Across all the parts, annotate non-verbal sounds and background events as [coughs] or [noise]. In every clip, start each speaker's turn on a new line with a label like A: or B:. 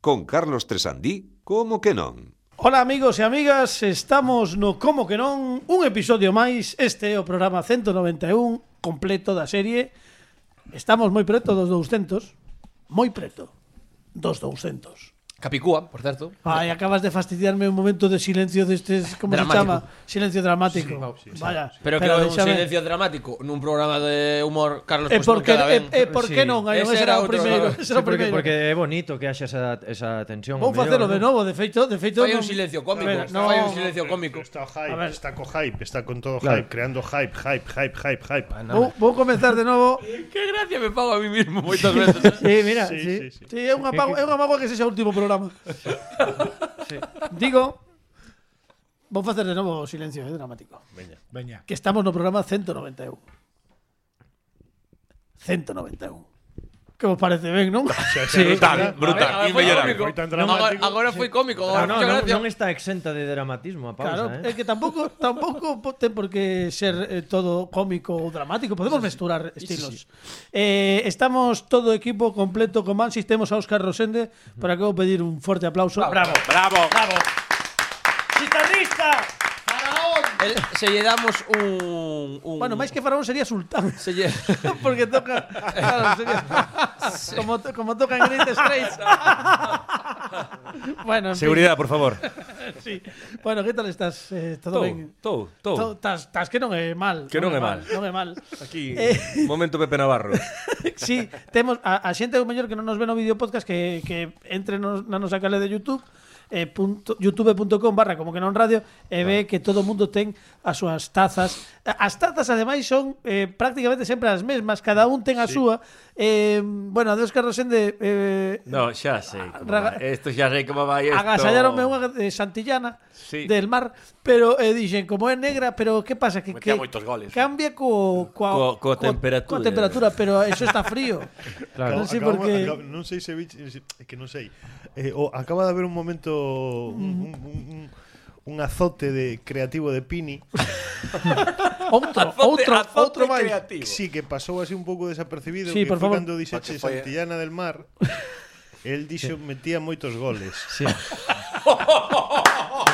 A: con Carlos Tresandí, como que non?
B: Ola amigos e amigas, estamos no Como que non, un episodio máis, este é o programa 191 completo da serie. Estamos moi preto dos 200, moi preto dos 200.
C: Capicúa, por certo.
B: Ai, acabas de fastidiarme un momento de silencio destes, como se
C: Dramático.
B: chama? Silencio dramático. Vaya.
C: Pero que
B: espera,
C: é un
B: déxame.
C: silencio dramático nun programa de humor Carlos
B: E
C: pues
B: Eh,
C: pois
B: por que
C: porque cada
B: e,
C: ben.
B: e por que
D: Sí.
B: non? Ai, non, ese
C: Ese era
B: era o
C: outro-
B: primeiro, ese era
D: Sí,
B: o
D: porque,
B: primeiro.
D: porque é bonito que haxa esa, esa tensión.
B: Vou
D: ao mellor,
B: facelo
D: non?
B: de novo, de feito, de feito.
C: Fai un
B: non-
C: silencio cómico,
B: A ver,
C: no, fai un silencio cómico.
E: Está
B: A ver.
E: hype, está con hype, está con todo
D: Claro.
E: hype, creando hype, hype, hype, hype, hype.
B: Vou, vou comenzar de novo.
C: Que gracia me pago a mí mismo moitas [laughs] veces. eh.
D: Sí, mira, sí.
E: Sí, sí, sí.
B: Sí, é unha pago, é unha mágoa que sexa o último programa. Digo, vou facer de novo o silencio, é dramático.
F: Veña.
B: Que estamos no programa 191. 191. Que vos parece ben, non?
A: Brutal,
C: A ver,
A: brutal,
C: foi
A: inmellorable.
C: cómico.
E: Foi tan
C: No, agora,
E: dramático.
C: agora foi cómico,
D: Ah,
C: agora
D: no,
C: mucha
D: non,
C: gracia.
D: non está exenta de dramatismo a pausa,
B: Claro,
D: eh.
B: é que tampouco tampouco po- ten por que ser eh, todo cómico ou dramático, podemos mesturar estilos. Eh, estamos todo o equipo completo con Mansis, temos a Óscar Rosende, para que vou pedir un forte aplauso. Bravo.
A: Bravo.
C: El, se lle damos un, un
B: Bueno, máis que faraón sería sultán.
C: se
B: [laughs]
C: lle [laughs]
B: Porque toca. Claro, [laughs] sería- como, to- como toca en Great Straits. [laughs] bueno, en fin,
F: Seguridade, por favor.
B: sí. Bueno, que tal estás? Eh, todo ben?
F: Tou,
B: To-
F: tou.
B: Estás estás que non é mal.
F: Que non é mal.
B: Non é mal.
F: Aquí,
B: Eh.
F: momento Pepe
C: [laughs]
F: Navarro.
B: [laughs] sí, temos a, a xente o mellor que non nos ve no vídeo podcast que, que entre nos, na nosa canal de YouTube eh, punto- youtube.com barra como que non radio e ve que todo o mundo ten as súas tazas A- as tazas ademais son eh, prácticamente sempre as mesmas cada un ten a súa eh, bueno, a Deus que Rosende eh,
G: No, ya sé. cómo
B: Raga-
G: va. Esto ya sé cómo va esto.
B: agasallaronme unha de Santillana
G: Sí.
B: del mar, pero eh, dixen como é negra, pero que pasa que, que
G: Metía moitos goles.
B: cambia co coa,
G: Co- coa temperatura.
B: coa temperatura, pero eso está
G: [laughs]
B: frío.
D: Claro.
B: non sei
E: Acabamos-
B: por que-
E: acab- non sei se vi, é que non sei. Eh, o, acaba de haber un momento un, un, un, un azote de creativo de Pini.
B: Outro, outro, outro máis.
E: Que sí, que pasou así un pouco desapercibido
B: Sí,
E: que
B: por
E: foi
B: favor.
E: cando dixeche Santillana del Mar. El dixo metía moitos goles.
D: [laughs] Sí.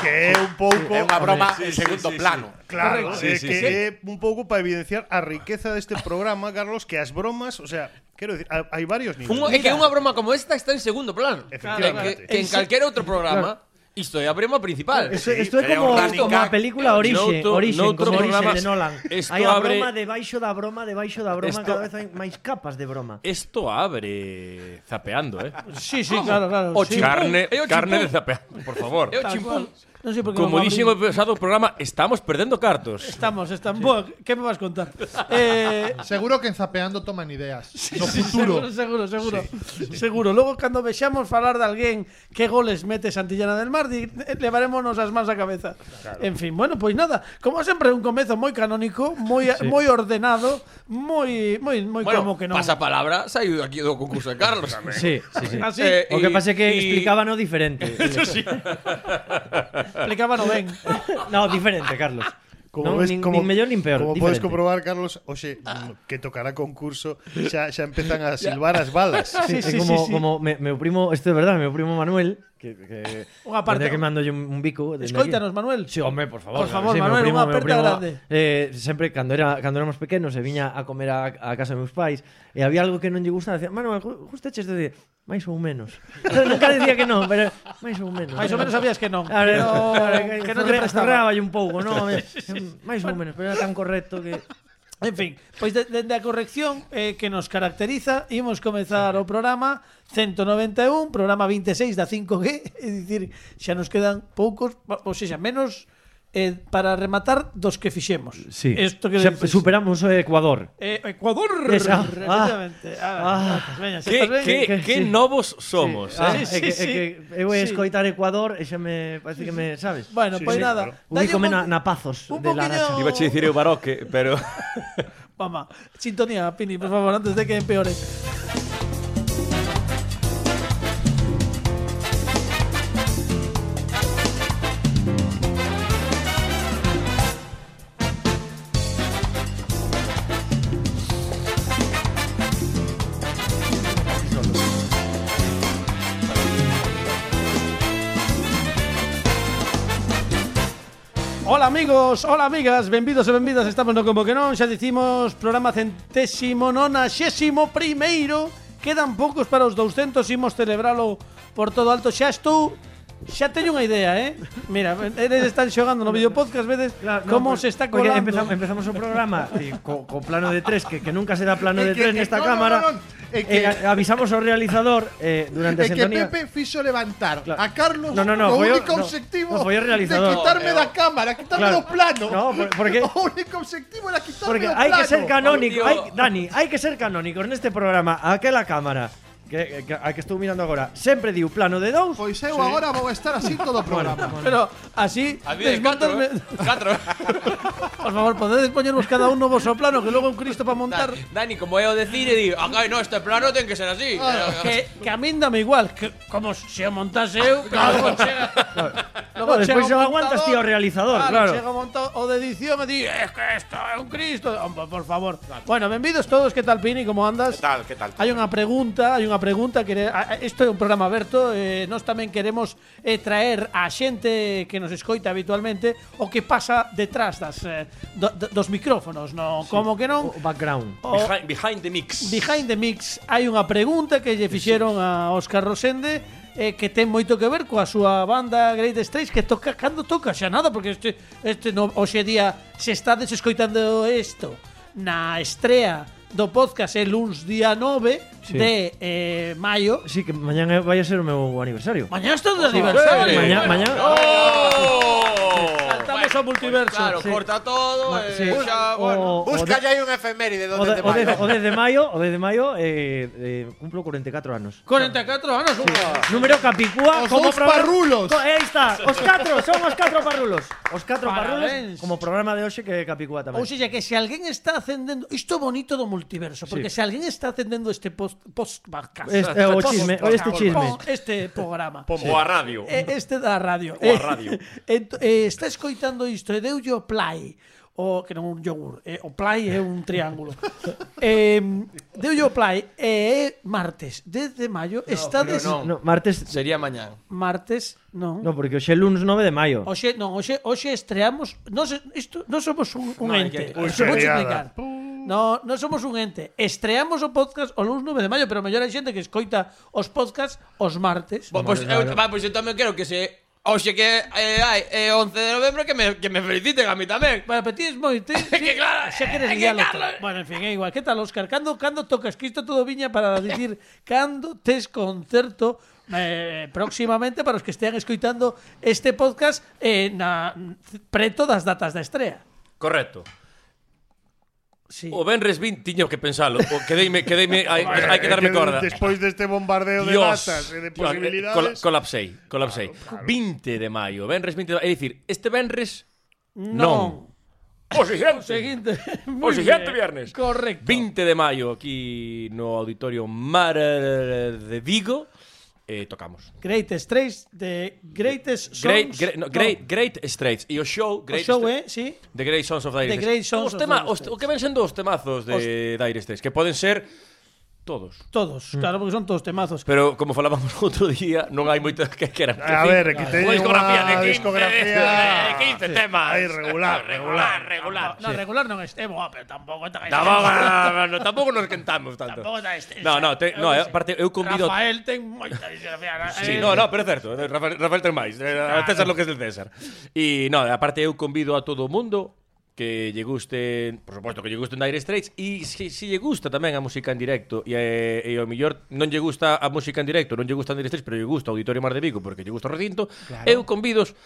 E: Que é un pouco
G: Es una broma en segundo plano.
E: Claro,
F: Sí,
E: é
F: sí,
E: que
F: sí.
E: é un pouco para evidenciar a riqueza deste programa, Carlos, que as bromas, o sea, quero decir, ha- hai varios niveis.
C: un, é que unha broma como esta está en segundo plano.
E: Efectivamente.
C: É que, que en calquer outro programa isto é a broma principal.
D: Eso, esto é
G: sería
D: como,
G: orgánica.
D: como a película Orixe,
C: Noutro-
D: Orixe,
C: noutro
D: como Orixe
C: programa
D: de Nolan.
G: esto
D: Hai a
G: abre-
D: broma debaixo da broma, debaixo da broma,
G: Esto-
D: cada vez hai máis capas de broma.
G: Esto abre zapeando, ¿eh?
B: Sí, sí, claro, claro.
C: [laughs] O
B: sí.
C: chimpún,
G: Carne,
C: é o
G: carne
C: chimpún.
G: de zapeando, por favor.
C: É o chimpún.
B: Non sei por que non
G: Como
B: abrí.
G: dije en el pasado programa, estamos perdiendo cartos.
B: Estamos, estamos. Boa, que me vas contar? Eh,
H: Seguro que en Zapeando toman ideas. No
B: sí,
H: futuro.
B: Seguro, seguro, seguro. Seguro. Logo, cando vexamos falar de alguén que goles mete Santillana del Mar, di- eh, levarémonos as mans á cabeza. En fin, bueno, pois nada. Como sempre, un comezo moi canónico, moi moi ordenado, moi moi moi como
C: Bueno,
B: que non.
C: pasa palabra, saiu aquí do concurso de
G: [laughs]
C: Carlos.
D: Sí, sí, sí.
B: Así,
C: Eh,
D: O que
C: y-
D: pasa é que
C: y-
D: explicaba
G: [laughs]
D: no diferente.
B: explicaba no ben.
D: no, diferente, Carlos.
E: Como
D: non,
E: ves,
D: nin,
E: como,
D: nin mellor nin peor.
E: Como
D: diferente.
E: podes
D: Ah.
E: comprobar, Carlos, oxe, que tocará concurso, xa, xa empezan
D: [laughs]
E: a silbar as balas.
D: Sí,
B: Sí, sí,
D: é como,
B: sí, sí.
D: como me, meu primo, isto é verdade, meu primo Manuel, que, que
B: Unha parte-
D: tendría que mando un, un bico. dende
B: Escoítanos,
D: aquí.
B: Manuel.
D: Sí, home, por favor.
B: Por
D: claro
B: favor,
D: que sí, meu
B: Manuel,
D: primo-
B: unha
D: meu
B: aperta
D: primo,
B: grande.
D: Eh, sempre, cando, era, cando éramos pequenos, se viña a comer a, a casa de meus pais, e había algo que non lle gustaba, decía, Manuel, ju- justo eches de máis ou menos. [laughs] Nunca decía que non, pero máis ou menos.
B: Mais ou menos sabías que non. [laughs]
D: A ver,
B: Pero-
D: que non lle prestaba
B: prestaba.
D: un pouco, non? Máis ou menos, pero era tan correcto que
B: En fin, pois de- dende a corrección eh, que nos caracteriza, imos comezar o programa 191, programa 26 da 5G, é dicir, xa nos quedan poucos, pa- ou seja, menos eh, para rematar dos que fixemos.
D: Sí.
B: Isto que
D: Xa
B: dices.
D: superamos o Ecuador.
B: Eh, Ecuador.
D: Esa.
B: Efectivamente. Ah, ah, veña, se
G: ¿Qué,
B: estás ben.
G: qué-
D: que-
G: qué
D: sí.
G: novos somos,
D: Ah,
G: ¿eh?
B: sí,
D: é que,
B: sí,
D: é que eu vou
B: sí.
D: escoitar Ecuador e xa me parece que me, sabes?
B: Bueno,
E: Sí,
B: pois
E: sí,
B: nada.
E: claro.
B: dalle un
D: Ubícome na,
B: po-
D: na Pazos
B: un
D: de la Racha.
B: poquillo-
F: Ibache dicir eu Baroque, pero
B: Mamá, sintonía, Pini, por favor, antes de que empeore. Hola amigos, hola amigas, benvidos e benvidas Estamos no Como Que Non, xa dicimos Programa centésimo nonaxésimo primeiro Quedan poucos para os 200 Imos celebralo por todo alto Xa estou Xa teño unha idea, eh? Mira, eles están xogando no videopodcast vedes
D: Claro, no,
B: como
D: pues,
B: se está
D: porque
B: colando.
D: Empezamos, empezamos o programa eh, co- con plano de tres, que, que nunca se da
H: [laughs]
D: plano de
H: É que-
D: tres
H: é-
D: nesta
H: no, no,
D: cámara.
H: no, no, é que-
D: Eh, a- avisamos ao realizador eh,
H: [laughs]
D: durante a
H: É que
D: sintonía.
H: Pepe fixo levantar
D: Claro.
H: a Carlos
D: No, no, no,
H: o
D: foi o-
H: único
D: no,
H: obxectivo
D: no, foi o
H: de
D: realizador.
H: quitarme da cámara, quitarme
D: Claro.
H: do plano.
D: No, por-
H: [laughs]
D: porque-
H: O único obxectivo era quitarme
D: Porque
H: do
D: hay
H: plano.
D: que ser canónico,
G: Tío.
D: hay, Dani, hay que ser canónicos neste programa. Aquela cámara que, que, a que estou mirando agora sempre diu plano de dous.
H: Pois eu agora vou estar así todo o programa.
B: Pero así
G: Había de catro,
B: desmontasme-
G: eh. Catro.
B: Por favor, podedes poñervos cada un no vosso plano que logo un Cristo para montar.
G: Dani, como é o decir, e digo, "Ah, no, este plano ten que ser así.
B: Ah, que, que a min dame igual, que como se o montase eu, pero logo chega. [laughs]
D: No, despois
B: chega o
D: xa aguantas ti
B: montador,
D: ao realizador, claro.
B: Chega o monta- o de edición e di, es que esto é un Cristo, Hombre, por favor. Bueno, benvidos todos, que tal Pini, como andas?
I: ¿Qué tal? ¿Qué tal?
B: Hai unha pregunta, hai unha pregunta que a- a- isto é un programa aberto, eh, nós tamén queremos eh, traer a xente que nos escoita habitualmente o que pasa detrás das eh, do, do- dos micrófonos, no como que non.
D: O background.
B: O-
G: Behind, behind the mix.
B: Behind the Mix hai unha pregunta que lle fixeron a Óscar Rosende eh, que ten moito que ver coa súa banda Great Straits que toca cando toca xa nada porque este este no, hoxe día se está desescoitando isto na estrea do podcast el luns día 9
D: Sí.
B: de eh, maio
D: Sí, que mañán é- vai a ser o meu aniversario.
B: mañá está de aniversario
D: eh. Mañá, mañá.
G: ¡Oh!
B: saltamos ao multiverso
G: Claro, corta todo.
D: Ma-
G: eh,
D: sí. Oh.
G: xa, bueno.
D: O- o
I: Busca
D: de-
I: ya hay un efeméride
D: O, de,
I: donde te
D: o, de,
I: vaya.
D: o 10 de maio, o 10 de maio eh, eh, cumplo 44 anos.
B: 44 anos unha.
D: Número Capicúa
H: Os
D: como
H: dous parrulos.
D: Co- eh, Aí está, os catro, son os catro parrulos. Os catro
B: Parabéns.
D: parrulos como programa de hoxe que é Capicúa tamén.
B: Ou seja, que se alguén está acendendo Isto é bonito do multiverso Porque
D: Sí.
B: se alguén está acendendo este post, post podcast
D: Este é o
B: Post-
D: chisme,
B: podcast,
D: este chisme.
B: Este programa
G: Pombo a radio.
B: Eh, Este da radio
G: Ou a
B: [laughs]
G: radio.
B: Eh, ent- eh, Está escoitando isto E deulle o play o, que non é un yogur, eh, o play é un
D: [laughs]
B: triángulo. eh, deulle o play e é martes, 10 de maio, estades
G: pero
D: no, martes
C: Sería mañana.
B: martes, non.
D: No, porque hoxe é luns 9 de maio.
B: Oxe, non, oxe, oxe estreamos, non se, isto, non somos un, un
C: No, hai
B: ente.
C: que-
B: Que, vou explicar. No, non somos un ente. Estreamos o podcast o lunes 9 de maio, pero mellor hai xente que escoita os podcasts os martes.
G: Bo-
B: Bo,
G: Pois eu, va, pois eu tamén quero que se... Oxe que eh, hai eh, 11 de novembro que me, que me feliciten a mí tamén.
B: bueno, pero tides moi, ti, ti,
G: [laughs] que claro,
B: xa queres
G: é que
B: guialo.
G: Carlos-
B: Bueno, en fin, é igual. Que tal, Óscar? Cando, cando tocas? Que isto todo viña para dicir
G: [laughs]
B: cando tes concerto eh, próximamente para os que estean escoitando este podcast eh, na, preto das datas da estrea.
G: Correcto.
B: Sí.
G: O Benres 20 tiño que pensalo. O quedeime, [laughs] quedeime, hai, hai
E: Eh,
G: que darme corda.
E: Despois deste este bombardeo de
G: Dios.
E: datas e de
G: Tío, eh,
E: posibilidades.
G: cola- colapsei, colapsei. 20 de maio, Benres 20 de maio. É dicir, este Benres non.
B: O
G: O seguinte.
B: siguiente.
G: O
B: [laughs] Muy bien.
G: siguiente viernes.
B: Correcto.
G: 20 de maio aquí no Auditorio Mar eh, de Vigo. Eh, tocamos.
B: Greatest Trace de Greatest Songs.
G: Great, great, no, great, great Straits. E o show,
B: No, o
G: Great
B: show, eh,
G: Straits-
B: sí.
G: The Great Sons of Dire
B: The Great Sons
G: os
B: of
G: tema,
B: Dire
G: os,
B: Straits.
G: o que ven sendo os temazos de Dire Straits, que poden ser todos.
B: Todos, claro, porque son todos temazos.
G: Mm. Pero como falábamos [laughs] outro día, non hai moitas que queran.
E: A ver, que teñen
G: Unha discografía ¿eh? de
E: unha
G: 15,
E: discografía.
G: [laughs] de 15 temas.
E: Aí, regular,
G: eh, regular, regular.
B: no, regular non es. Eh, boa, pero tampouco está
G: Tampouco,
B: [laughs]
G: no, no, tampouco nos quentamos tanto.
B: Tampouco está este.
G: No, no, te, no, eh, aparte eu convido
B: Rafael ten moita discografía.
G: Sí,
B: eh.
G: no, no, pero é certo, Rafael, Rafael ten máis, eh, a César lo que é del César. E no, aparte eu convido a todo o mundo que lle gusten, por suposto que lle gusten Dire Straits e se, se lle gusta tamén a música en directo e, eh, e ao mellor non lle gusta a música en directo, non lle gusta Dire Straits, pero lle gusta o Auditorio Mar de Vigo porque lle gusta o recinto, claro. eu convidos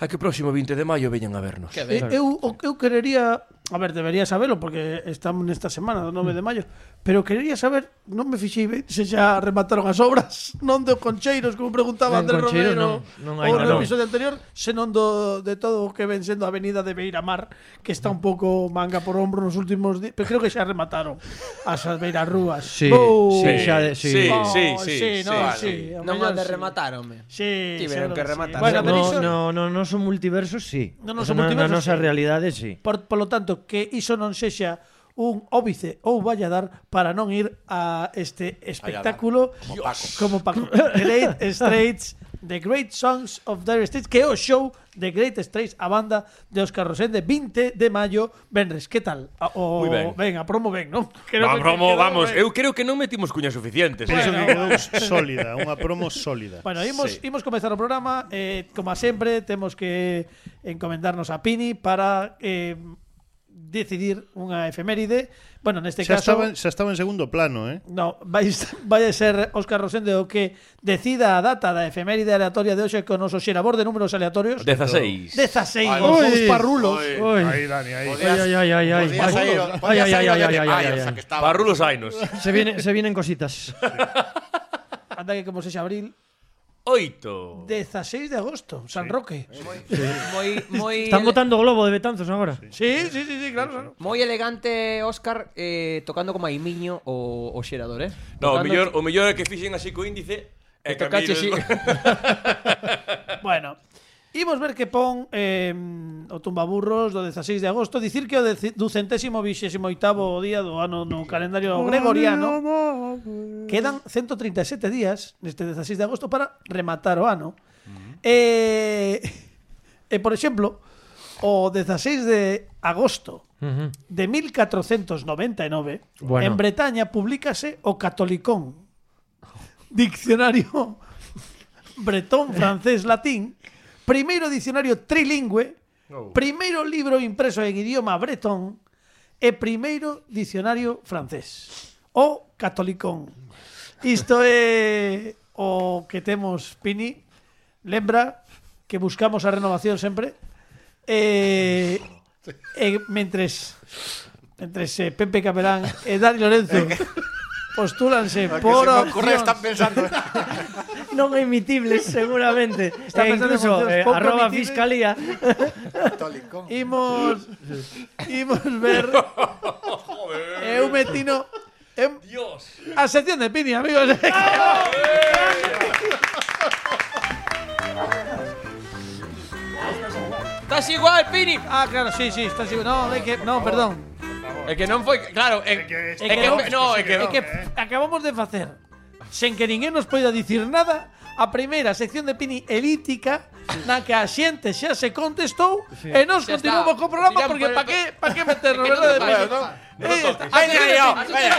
G: a que o próximo 20 de maio veñan a vernos.
C: Que
B: Eh, eu, o que eu querería A ver, debería sabelo porque estamos nesta semana do 9 de maio Pero querería saber Non me fixei ben se xa remataron as obras [laughs] Non do Concheiros, como preguntaba
D: Non,
B: Andrés
D: Concheiros
B: Romero
D: non, non hai
B: Ou
D: nada,
B: no
D: non.
B: episodio anterior Senón do, de todo o que ven sendo a avenida de Beiramar Que está un pouco manga por hombro nos últimos días Pero creo que xa remataron As beirarrúas
D: Sí,
B: Bou.
D: sí, xa de-
G: sí,
B: Oh,
G: sí, sí,
B: sí, no, sí,
G: sí.
B: ao
C: Non
B: mellor
C: a de
B: sí.
C: rematar, home.
B: Sí,
C: Tiveron
B: seguro
C: que
B: sí.
C: rematar.
B: Bueno, pero
D: No,
B: iso-
D: no, no, no son multiversos, sí.
B: No, no
D: Eso
B: son multiversos,
D: Na nosa
B: sí.
D: realidade, sí.
B: Por, polo tanto, que iso non sexa un óbice ou vaya dar para
G: [laughs]
B: non ir a este espectáculo como Paco. Great Straits The Great Songs of Dire Straits, que é o show The Great Straits, a banda de Óscar Rosén de 20 de maio, Benres. Que tal? A- O,
G: Moi ben.
B: Ben, a promo ben, non? Creo
G: No,
B: que-
G: promo,
B: quedou
G: vamos,
B: ben.
G: eu creo que non metimos cuñas suficientes.
E: Por eso
G: eh.
E: que quedou sólida, unha promo sólida.
B: Bueno, imos,
G: Sí.
B: imos comezar o programa eh, Como a sempre, temos que encomendarnos a Pini Para eh, decidir unha efeméride Bueno, neste
E: Xa
B: este caso
E: estaba, en- xa estaba en segundo plano, eh?
B: No, vai, [laughs] vai a ser Óscar Rosende o que decida a data da efeméride aleatoria de hoxe con o noso xerabor de números aleatorios
G: 16.
B: 16
I: Ai,
B: Os dous
H: Os parrulos.
D: Uy.
E: Aí, Dani, aí.
I: Podías-
D: Ay, ay, ay, ay,
I: podías
D: ay.
I: ir-
D: Ay,
I: podías
D: ay,
I: ir
D: ay,
I: a
D: ay,
I: de-
D: ay, ay,
I: o sea,
D: ay.
I: que estaba-
G: Parrulos ainos.
D: Se, viene- se vienen cositas.
B: Anda que como 6 de abril
G: 8.
B: 16 de agosto, San Roque
C: Moi, moi,
D: Están botando globo de Betanzos ahora.
B: Sí, sí, sí, sí claro, claro.
C: moi elegante Óscar eh, tocando como Aimiño o, o xerador, eh?
G: No, o
C: Tocando-
G: mellor, o mellor é que fixen así co índice e que a mí
C: Tocache
G: [laughs]
C: así.
G: non-
B: Bueno, imos ver que pon eh, o tumbaburros do 16 de agosto Dicir que o deci- ducentésimo vixésimo oitavo día do ano no calendario gregoriano Quedan 137 días neste 16 de agosto para rematar o ano E, e por exemplo, o 16 de agosto de 1499
D: Bueno.
B: en Bretaña publícase o Catolicón Diccionario bretón, francés, latín, primeiro diccionario trilingüe, primeiro libro impreso en idioma bretón e primeiro diccionario francés. O catolicón. Isto é o que temos, Pini. Lembra que buscamos a renovación sempre. E, e mentres mentres eh, Pepe Capelán e Dani Lorenzo postúlanse
I: que
B: por
I: se me ocurre,
B: opcións.
I: están pensando.
D: Non emitibles, seguramente.
B: [laughs] Está
D: e
B: pensando en
D: incluso
B: funcións
D: eh,
B: pouco
D: arroba
B: emitibles.
D: [laughs] fiscalía.
I: Católico.
B: Imos Imos [laughs] ver Eu metino eu,
G: Dios.
B: A sección de Ah, Pini, amigos
C: Estás igual, Pini.
B: [laughs] Ah, claro, sí, sí, está así No, é que, no, perdón
G: É que non foi, claro, é,
E: que-
G: é que no, é que
B: é que acabamos de facer Sen que ninguén nos poida dicir nada A primeira sección de Pini elítica Na que a xente xa se contestou E nos
C: Xa
B: continuamos
C: está.
B: co programa
C: Tiramos
B: Porque
C: por el-
B: pa que, pa que meternos,
C: que non
B: verdade,
C: te
B: Pini?
C: vayas,
B: Eh, está-
G: Venga, yo, venga.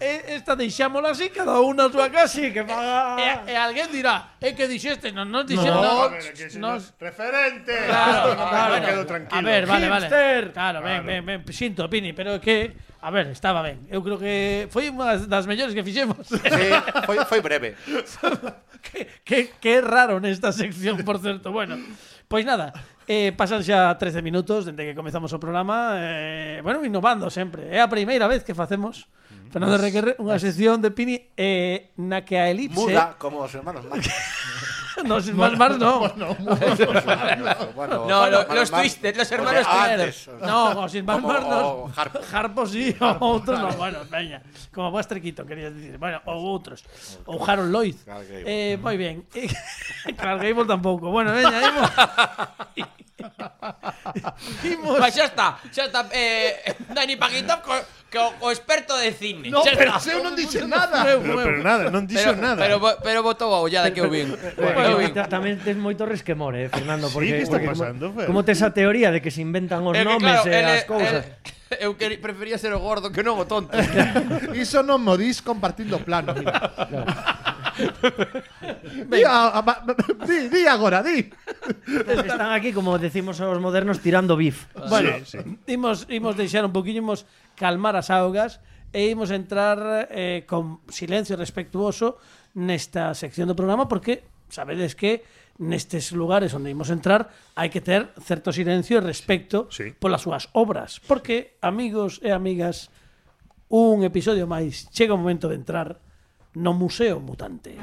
B: Eh, Esta deixámola así, cada unha a súa casa e que faga... E,
D: Eh,
B: e alguén dirá, é que dixeste, non nos dixen...
E: A
B: No,
E: ver, que se
B: nos...
E: nos- Referente. [laughs]
B: Claro,
E: Ah,
B: claro.
E: me quedo tranquilo.
B: A ver, vale, vale. Claro, ben, ben, ben, sinto, Pini, pero é que... A ver, estaba ben. Eu creo que foi unha das mellores que fixemos.
I: Sí, foi, foi
B: [laughs]
I: breve.
B: que, que, que raro nesta sección, por certo. Bueno, pois nada, eh, pasan xa 13 minutos dende que comezamos o programa. Eh, bueno, innovando eh. sempre. É a primeira vez que facemos, Fernando Requerre, unha sección de Pini eh, na que a elipse...
I: Muda como os hermanos Marx.
B: Nos más, más [laughs] no.
I: Bueno,
C: No,
I: bueno,
C: lo-
I: hermanos
C: los
I: Marx,
C: twisted, los
I: o sea,
C: hermanos
I: Ah, antes,
C: twisted.
I: o sea,
B: No, o sin más,
I: Como-
B: más no.
I: o Harpo.
B: Harpo sí, o otros no. Bueno, venga. Como más trequito, querías decir. Bueno, o otros. O Harold Lloyd.
I: Clark Gable.
B: Eh, muy bien. [laughs] Clark Gable tampoco. Bueno, venga, imos. Imos.
C: Pois xa Pues está, xa está eh, [laughs] Dani Paquitov co, co, co experto de cine.
H: No,
C: xa
H: pero
C: está.
H: se eu non dixen nada.
B: Meu,
E: Pero,
B: meu.
E: pero nada, non dixo
C: pero,
E: nada.
C: pero, pero botou a ollada que eu vin.
D: Bueno,
C: Eu vin.
D: ta- tamén tes moito resquemor, eh, Fernando,
E: Sí,
D: porque
E: que está
D: porque
E: pasando,
D: como,
E: Fer?
D: como tes a teoría de que se inventan os
C: É que,
D: nomes eh, e
C: ele-
D: as
G: [laughs]
D: cousas.
C: ele- [laughs] eu queri- prefería ser o gordo que non o tonto.
H: [laughs] Iso non modís compartindo
B: [laughs]
H: plano, mira. di, a, a, ma- di, di agora, di.
D: Están aquí como decimos os modernos tirando beef.
B: Bueno,
E: Sí, sí.
B: imos, imos deixar un poquinho, imos calmar as augas e imos entrar eh, con silencio respectuoso nesta sección do programa porque sabedes que nestes lugares onde imos entrar hai que ter certo silencio e respecto
E: Sí.
B: polas súas obras. Porque, amigos e amigas, un episodio máis chega o momento de entrar no Museo Mutante.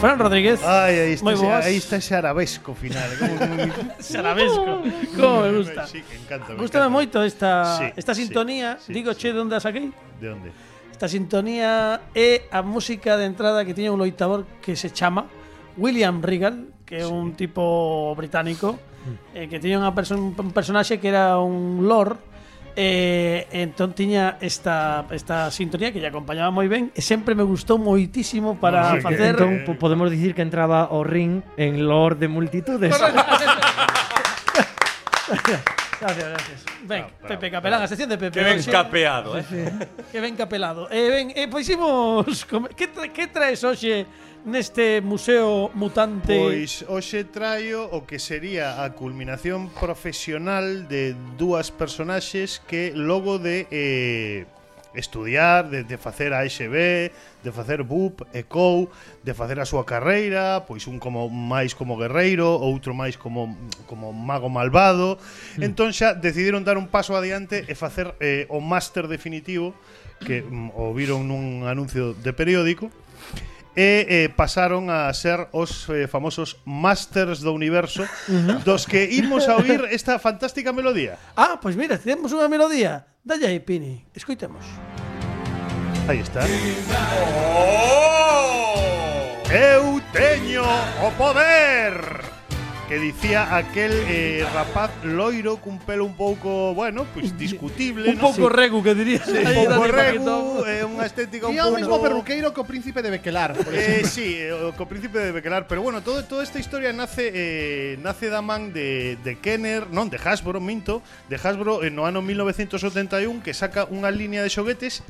B: Fran Rodríguez.
E: Ay, aí está,
B: Moi
E: ese,
B: boas.
E: aí está ese arabesco final.
B: [laughs]
E: Como,
B: Sarabesco. Como me gusta.
E: Sí, que encanta. me
B: Gústame
E: encanta.
B: moito esta,
E: Sí,
B: esta
E: sí,
B: sintonía.
E: sí,
B: Digo,
E: sí.
B: che, de onde a saquei?
E: De onde?
B: Esta E sintonía é a música de entrada que tiña un loitador que se chama William Regal, que é un tipo británico eh, que tiña unha perso un personaxe que era un lord eh, entón tiña esta esta sintonía que lle acompañaba moi ben e sempre me gustou moitísimo para
E: Ai, que-
B: facer
E: entón,
D: Entón, po- podemos dicir que entraba o ring en lore de multitudes.
B: Gracias, gracias. Ben, Pepe Capelán, a sección de Pepe.
G: Que ben
B: hoxe.
G: capeado, eh.
B: Que ben capelado. E ben, e pois imos [laughs] come- que, tra que traes hoxe neste este museo mutante?
E: Pois hoxe traio o que sería a culminación profesional de dúas personaxes que logo de eh, estudiar, de, de facer a ASB, de facer BUP e COU, de facer a súa carreira, pois un como máis como guerreiro, outro máis como como mago malvado. Entón xa decidiron dar un paso adiante e facer eh, o máster definitivo que mm, o viron nun anuncio de periódico e eh, pasaron a ser os eh, famosos Masters do Universo dos que imos a oír esta fantástica melodía.
B: Ah, pois mira, temos unha melodía. Dalle aí, Pini. Escoitemos.
E: Aí está. Eu teño o poder que dicía aquel eh, rapaz loiro cun pelo un pouco, bueno, pois discutible,
B: Un pouco regu, que dirías.
E: Sí,
B: Aí,
E: un pouco
B: Dani
E: regu,
B: Paquito.
E: eh, unha estética un
H: Tiña o
E: pouco
H: mismo perruqueiro que o príncipe de Bequelar. Por
E: Eh,
H: exemplo.
E: sí, eh, o co príncipe de Bequelar, pero bueno, todo, toda esta historia nace eh, nace da man de, de Kenner, non, de Hasbro, minto, de Hasbro eh, no ano 1971 que saca unha liña de xoguetes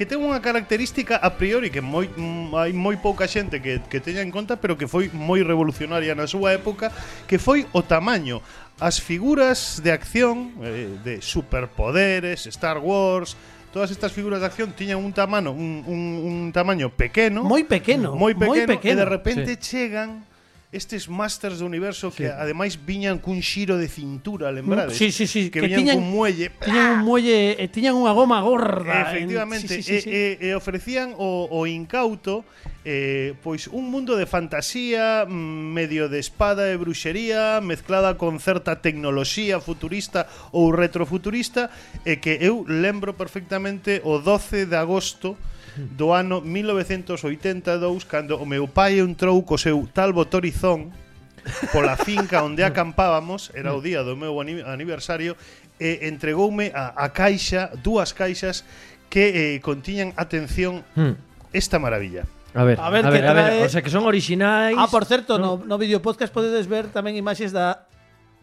E: que ten unha característica a priori que moi mm, hai moi pouca xente que, que teña en conta, pero que foi moi revolucionaria na súa época, que foi o tamaño. As figuras de acción eh, de superpoderes, Star Wars, todas estas figuras de acción tiñan un tamaño un, un, un tamaño pequeno,
B: Moi pequeno,
E: moi
B: moi
E: pequeno,
B: pequeno.
E: e de repente chegan estes masters do universo que ademais viñan cun xiro de cintura, lembrades?
B: Mm, Sí, sí, sí,
E: que,
B: que tiñan-
E: viñan cun muelle.
B: Tiñan un muelle, eh, tiñan unha goma gorda.
E: Efectivamente,
B: En- sí, sí, sí, sí.
E: E, e, e ofrecían o, o incauto eh, pois un mundo de fantasía, mm, medio de espada e bruxería, mezclada con certa tecnoloxía futurista ou retrofuturista, e que eu lembro perfectamente o 12 de agosto do ano 1982 cando o meu pai entrou co seu talbo torizón pola finca
D: [laughs]
E: onde acampábamos, era o día do meu ani- aniversario, e entregoume a, a caixa, dúas caixas que eh, contiñan atención
D: Hmm.
E: esta maravilla.
D: A ver,
B: A
D: a
B: ver
D: ver,
B: que
D: a ver,
B: trae-
D: o sea que son
E: eh,
D: orixinais.
B: Ah, por certo, no, no vídeo podcast podedes ver tamén imaxes da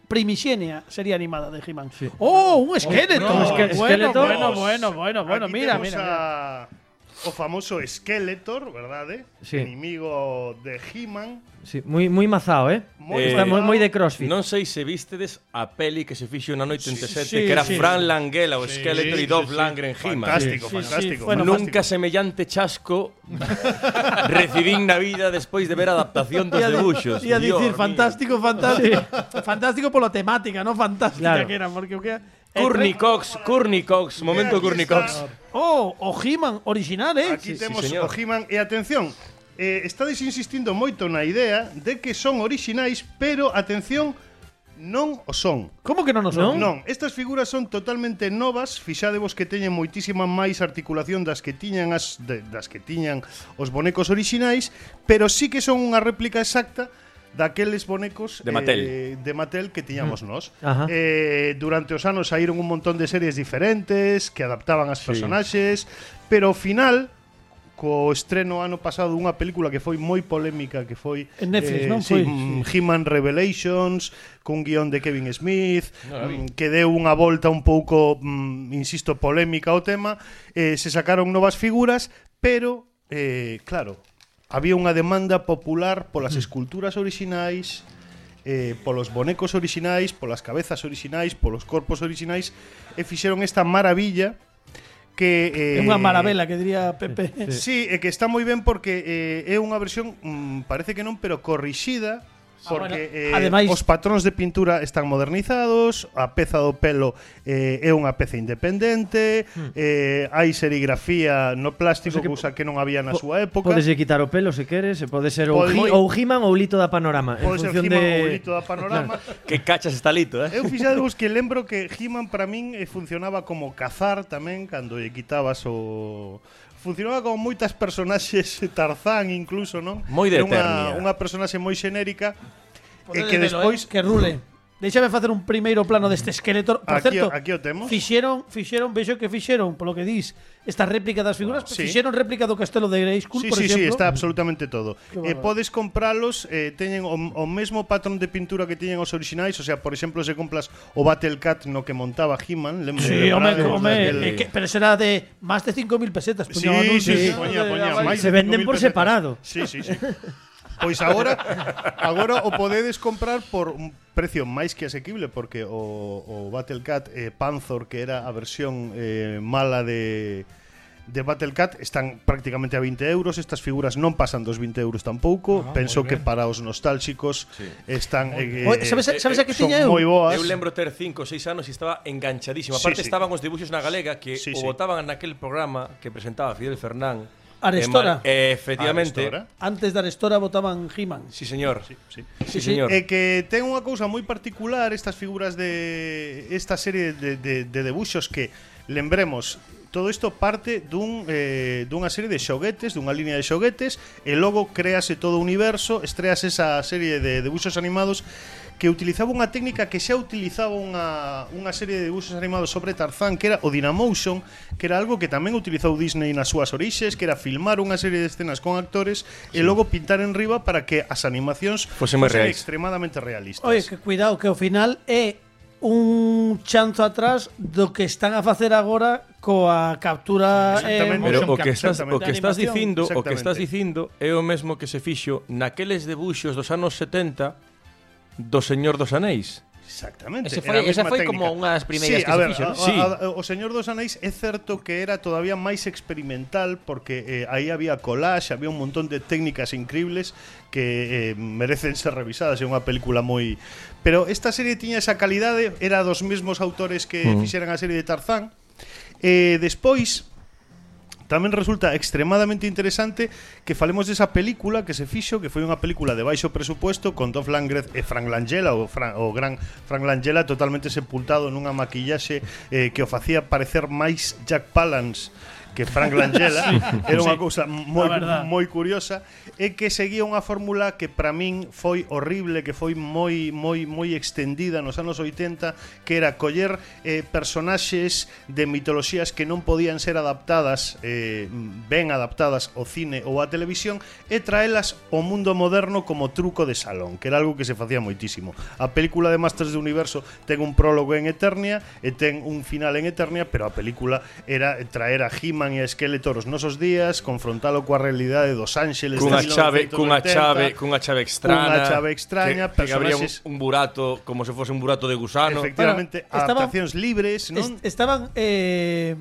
B: Primixenia serie animada de He-Man. Oh, un esqueleto.
D: no, esque- esqueleto.
B: Bueno, bueno, bueno, bueno,
E: Aquí
B: mira,
E: temos
B: mira. mira.
E: a- o famoso Skeletor, verdade?
D: Sí.
E: Enemigo de He-Man.
D: Sí, moi moi mazao, eh.
E: Moi
D: Está moi
E: mazao.
D: moi de CrossFit.
G: Non sei se vistedes a peli que se fixo na noite en T7
B: sí,
G: que era
B: sí.
G: Fran Langella, o Skeletor e
E: sí,
G: Dolph
E: sí, sí.
G: Langren He-Man.
E: Fantástico,
B: Sí, sí,
E: fantástico.
B: sí, bueno,
G: Nunca semellante chasco [laughs] recibín na vida despois de ver a adaptación dos
B: Ia di-
G: debuxos.
B: Ia
G: Dios
B: dicir
G: mío.
B: fantástico, fantástico. Fantástico pola temática, non fantástica
D: Claro.
B: que era, porque o que
G: Courtney
B: Curnico.
G: Cox, Courtney Cox, momento
E: Eh, Aquí
G: Courtney
E: está.
G: Cox.
B: Oh, o He-Man original, eh?
E: Aquí
G: sí,
E: temos
G: señor.
E: o He-Man e atención, eh, estades insistindo moito na idea de que son orixinais, pero atención, non o son.
B: Como que non nos son?
E: Non, estas figuras son totalmente novas, fixadevos que teñen moitísima máis articulación das que tiñan as de, das que tiñan os bonecos orixinais, pero sí que son unha réplica exacta daqueles bonecos
G: De Mattel.
E: eh, de Mattel que tiñamos nós.
D: Ajá.
E: Eh, durante os anos saíron un montón de series diferentes que adaptaban as personaxes, pero ao final co estreno ano pasado dunha película que foi moi polémica que foi
B: En Netflix, non? Foi.
E: sí, mm, He-Man Revelations cun guión de Kevin Smith mm, que deu unha volta un pouco mm, insisto, polémica ao tema eh, se sacaron novas figuras pero, eh, claro había unha demanda popular polas
B: Mm.
E: esculturas orixinais eh, polos bonecos orixinais polas cabezas orixinais, polos corpos orixinais e fixeron esta maravilla que
B: É
E: eh,
B: unha maravela que diría Pepe. [laughs]
E: Sí, é que está moi ben porque eh, é unha versión, mm, parece que non, pero corrixida
D: Ah,
E: porque
B: bueno,
E: eh,
B: ademais-
E: os patróns de pintura están modernizados, a peza do pelo eh, é unha peza independente, eh, hai serigrafía no plástico,
D: Hmm. O sea que
E: cousa que non había na
D: po-
E: súa época.
D: Podes quitar o pelo se queres, e pode ser ou
E: Pode-
D: He- ou He-Man ou Lito da Panorama, en
E: Pode ser
D: función
E: He-Man
D: de
E: ou Lito da
D: [laughs]
E: Panorama.
G: Que cachas está lito, eh?
E: Eu fixadevos que lembro que He-Man para min eh, funcionaba como cazar tamén cando lle quitabas o funcionaba como moitas personaxes [laughs] Tarzán incluso, non?
G: Moi de
E: Era unha,
G: Eternia.
E: unha personaxe moi xenérica e
B: Podédelo,
E: que despois
B: eh, que rule. Deixame facer un primeiro plano deste esqueleto. Por
E: Aquí
B: certo,
E: o- aquí o temos.
B: Fixeron, fixeron, vexo que fixeron, polo que dis, esta réplica das figuras,
E: Sí.
B: fixeron réplica do castelo de Grayskull,
E: Sí,
B: por
E: sí, sí,
B: exemplo.
E: está absolutamente todo.
B: Qué
E: Eh,
B: bárbaro.
E: podes compralos, eh, teñen o, o mesmo patrón de pintura que teñen os orixinais, o sea, por exemplo, se compras o Battle Cat no que montaba He-Man, lembro
B: Sí, home,
E: lembrade,
B: home,
E: aquel-
B: eh, que, pero eso era de máis de 5.000 pesetas.
E: Sí,
B: puñado
E: sí,
B: anuncio,
E: sí,
B: ¿no?
E: poña,
B: De-
E: poña,
B: de-
E: máis
D: Se
E: de
D: venden
E: 5.000
D: por
E: pesetas.
D: separado.
E: Sí, sí, sí. Pois agora agora o podedes comprar por un precio máis que asequible porque o, o Battle Cat eh, Panzer que era a versión eh, mala de de Battle Cat están prácticamente a 20 euros Estas figuras non pasan dos 20 euros tampouco ah, Penso que para os nostálxicos Están eh,
B: Oye, sabes,
G: eh,
B: sabes a que
E: Son
B: tiña eu?
E: moi boas Ah,
G: Eu lembro ter 5 ou 6 anos e estaba enganchadísimo.
E: Sí,
G: Aparte
E: sí.
G: estaban os dibuxos na galega que
E: Sí,
G: o
E: sí.
G: botaban naquel programa que presentaba Fidel Fernán.
B: Arestora.
G: Eh, efectivamente.
E: Arestora.
B: Antes da Arestora votaban He-Man.
G: Sí, señor. Sí,
E: sí.
B: sí.
G: señor.
E: É Eh, que ten unha cousa moi particular estas figuras de esta serie de, de, de debuxos que lembremos Todo isto parte dun, eh, dunha serie de xoguetes, dunha línea de xoguetes E logo créase todo o universo, estrease esa serie de debuxos animados Que utilizaba unha técnica que xa utilizaba unha, unha serie de debuxos animados sobre Tarzán Que era o Dynamotion, que era algo que tamén utilizou Disney nas súas orixes Que era filmar unha serie de escenas con actores e logo pintar en riba para que as animacións
G: Fosen máis
E: fosen
G: reais.
E: extremadamente realistas.
B: Oye, que cuidado, que ao final é un chanzo atrás do que están a facer agora coa captura eh,
E: Exactamente.
G: Pero o
E: motion
G: que estás o
E: exactamente.
G: que estás
B: De animación.
G: dicindo, o que
E: Exactamente.
G: estás dicindo é o mesmo que se fixo naqueles debuxos dos anos 70 do Señor dos Anéis.
E: Exactamente.
C: Ese
E: era a
C: foi- esa
E: mesma
C: foi
E: técnica.
C: como unha das primeiras
E: sí,
C: que
E: a
C: se
E: ver,
C: fixo,
E: a-
C: ¿no?
E: a-
G: Sí.
E: a- o Señor dos Anéis é certo que era todavía máis experimental porque eh, aí había collage, había un montón de técnicas increíbles que eh, merecen ser revisadas, é unha película moi Pero esta serie tiña esa calidade, era dos mesmos autores que
C: Mm.
E: fixeran a serie de Tarzán. Eh, despois Tamén resulta extremadamente interesante que falemos desa película que se fixo, que foi unha película de baixo presupuesto con Dolph Lundgren e Frank Langella, o, Fran, o gran Frank Langella totalmente sepultado nunha maquillaxe eh, que o facía parecer máis Jack Palance que Frank Langella era unha cousa moi
B: verdad.
E: moi curiosa e que seguía unha fórmula que para min foi horrible, que foi moi moi moi extendida nos anos 80, que era coller eh, personaxes de mitoloxías que non podían ser adaptadas eh, ben adaptadas ao cine ou á televisión e traelas ao mundo moderno como truco de salón, que era algo que se facía moitísimo. A película de Masters do Universo ten un prólogo en Eternia e ten un final en Eternia, pero a película era traer a He-Man e a Skeletor os nosos días, confrontalo coa realidade dos Ángeles
G: Cunha
E: de
G: chave,
E: 1980,
G: cunha chave, cunha chave extraña.
E: Cunha chave extraña,
G: que, que abría un,
E: personaxes-
G: un burato como se fose un burato de gusano.
E: Efectivamente,
B: Bueno, estaba-
E: adaptacións libres, non?
B: Est- estaban eh,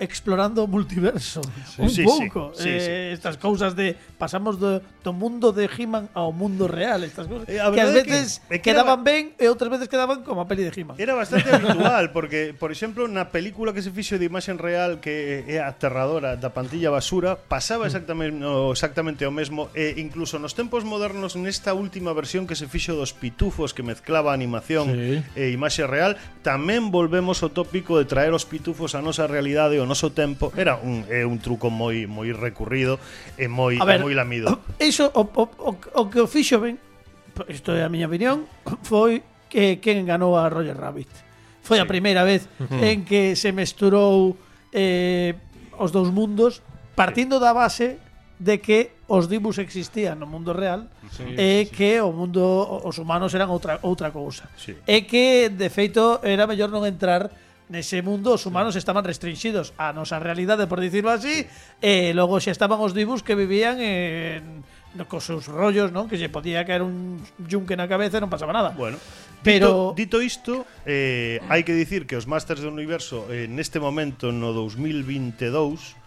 B: explorando o multiverso un
E: Sí, sí,
B: pouco
E: sí,
B: eh,
E: sí.
B: estas cousas de pasamos do, do mundo de He-Man ao mundo real estas cousas
E: Eh, a
B: que ás
E: verdade é que-
B: veces
E: é que era-
B: quedaban ben e outras veces quedaban como a peli de He-Man
E: Era
B: [laughs]
E: bastante habitual porque, por exemplo, na película que se fixo de imaxen real que é aterradora da pantilla basura,
B: Mm.
E: pasaba exactamente o, exactamente o mesmo e incluso nos tempos modernos nesta última versión que se fixo dos pitufos que mezclaba animación sí. e imaxe real, tamén volvemos ao tópico de traer os pitufos a nosa realidade e o noso tempo. Era un é un truco moi moi recurrido e moi
B: A ver,
E: e moi lamido.
B: [coughs] Eso, o, o, o, o que o fixo ben, isto é a miña opinión, [coughs] foi que quen ganou a Roger Rabbit. Foi a primeira
E: [laughs]
B: vez en que se mesturou eh, os dous mundos partindo da base de que os dibus existían no mundo real e que o mundo o- os humanos eran outra outra cousa.
E: Sí.
B: E que de feito era mellor non entrar nese mundo os humanos estaban restringidos á nosa realidade, por dicirlo así, e logo xa estaban os dibus que vivían en no- cos seus rollos, non? Que lle podía caer un yunque na cabeza e non pasaba nada.
E: Bueno,
B: Pero-
E: dito, dito isto, eh, hai que dicir que os Masters do Universo eh, neste momento no 2022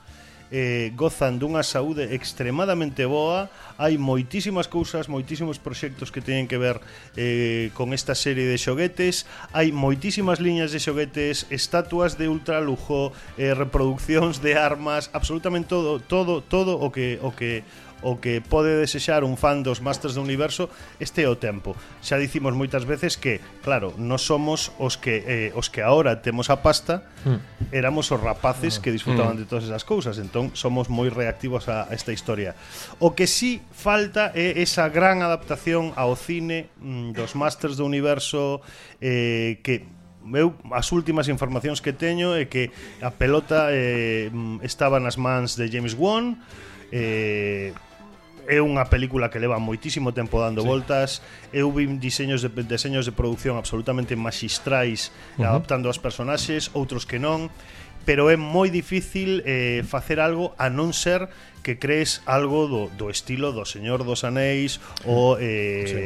E: eh, gozan dunha saúde extremadamente boa hai moitísimas cousas moitísimos proxectos que teñen que ver eh, con esta serie de xoguetes hai moitísimas liñas de xoguetes estatuas de ultralujo eh, reproduccións de armas absolutamente todo todo todo o que o que o que pode desexar un fan dos Masters do Universo este é o tempo. Xa dicimos moitas veces que, claro, non somos os que eh, os que ahora temos a pasta, éramos os rapaces que disfrutaban de todas esas cousas, entón somos moi reactivos a, a esta historia. O que sí falta é esa gran adaptación ao cine mm, dos Masters do Universo eh, que eu as últimas informacións que teño é que a pelota eh, mm, estaba nas mans de James Wan eh, é unha película que leva moitísimo tempo dando sí. voltas eu vim diseños de, diseños de producción absolutamente maxistrais uh -huh. adaptando as personaxes, outros que non pero é moi difícil eh, facer algo a non ser que crees algo do, do estilo do Señor dos Anéis ou eh, sí.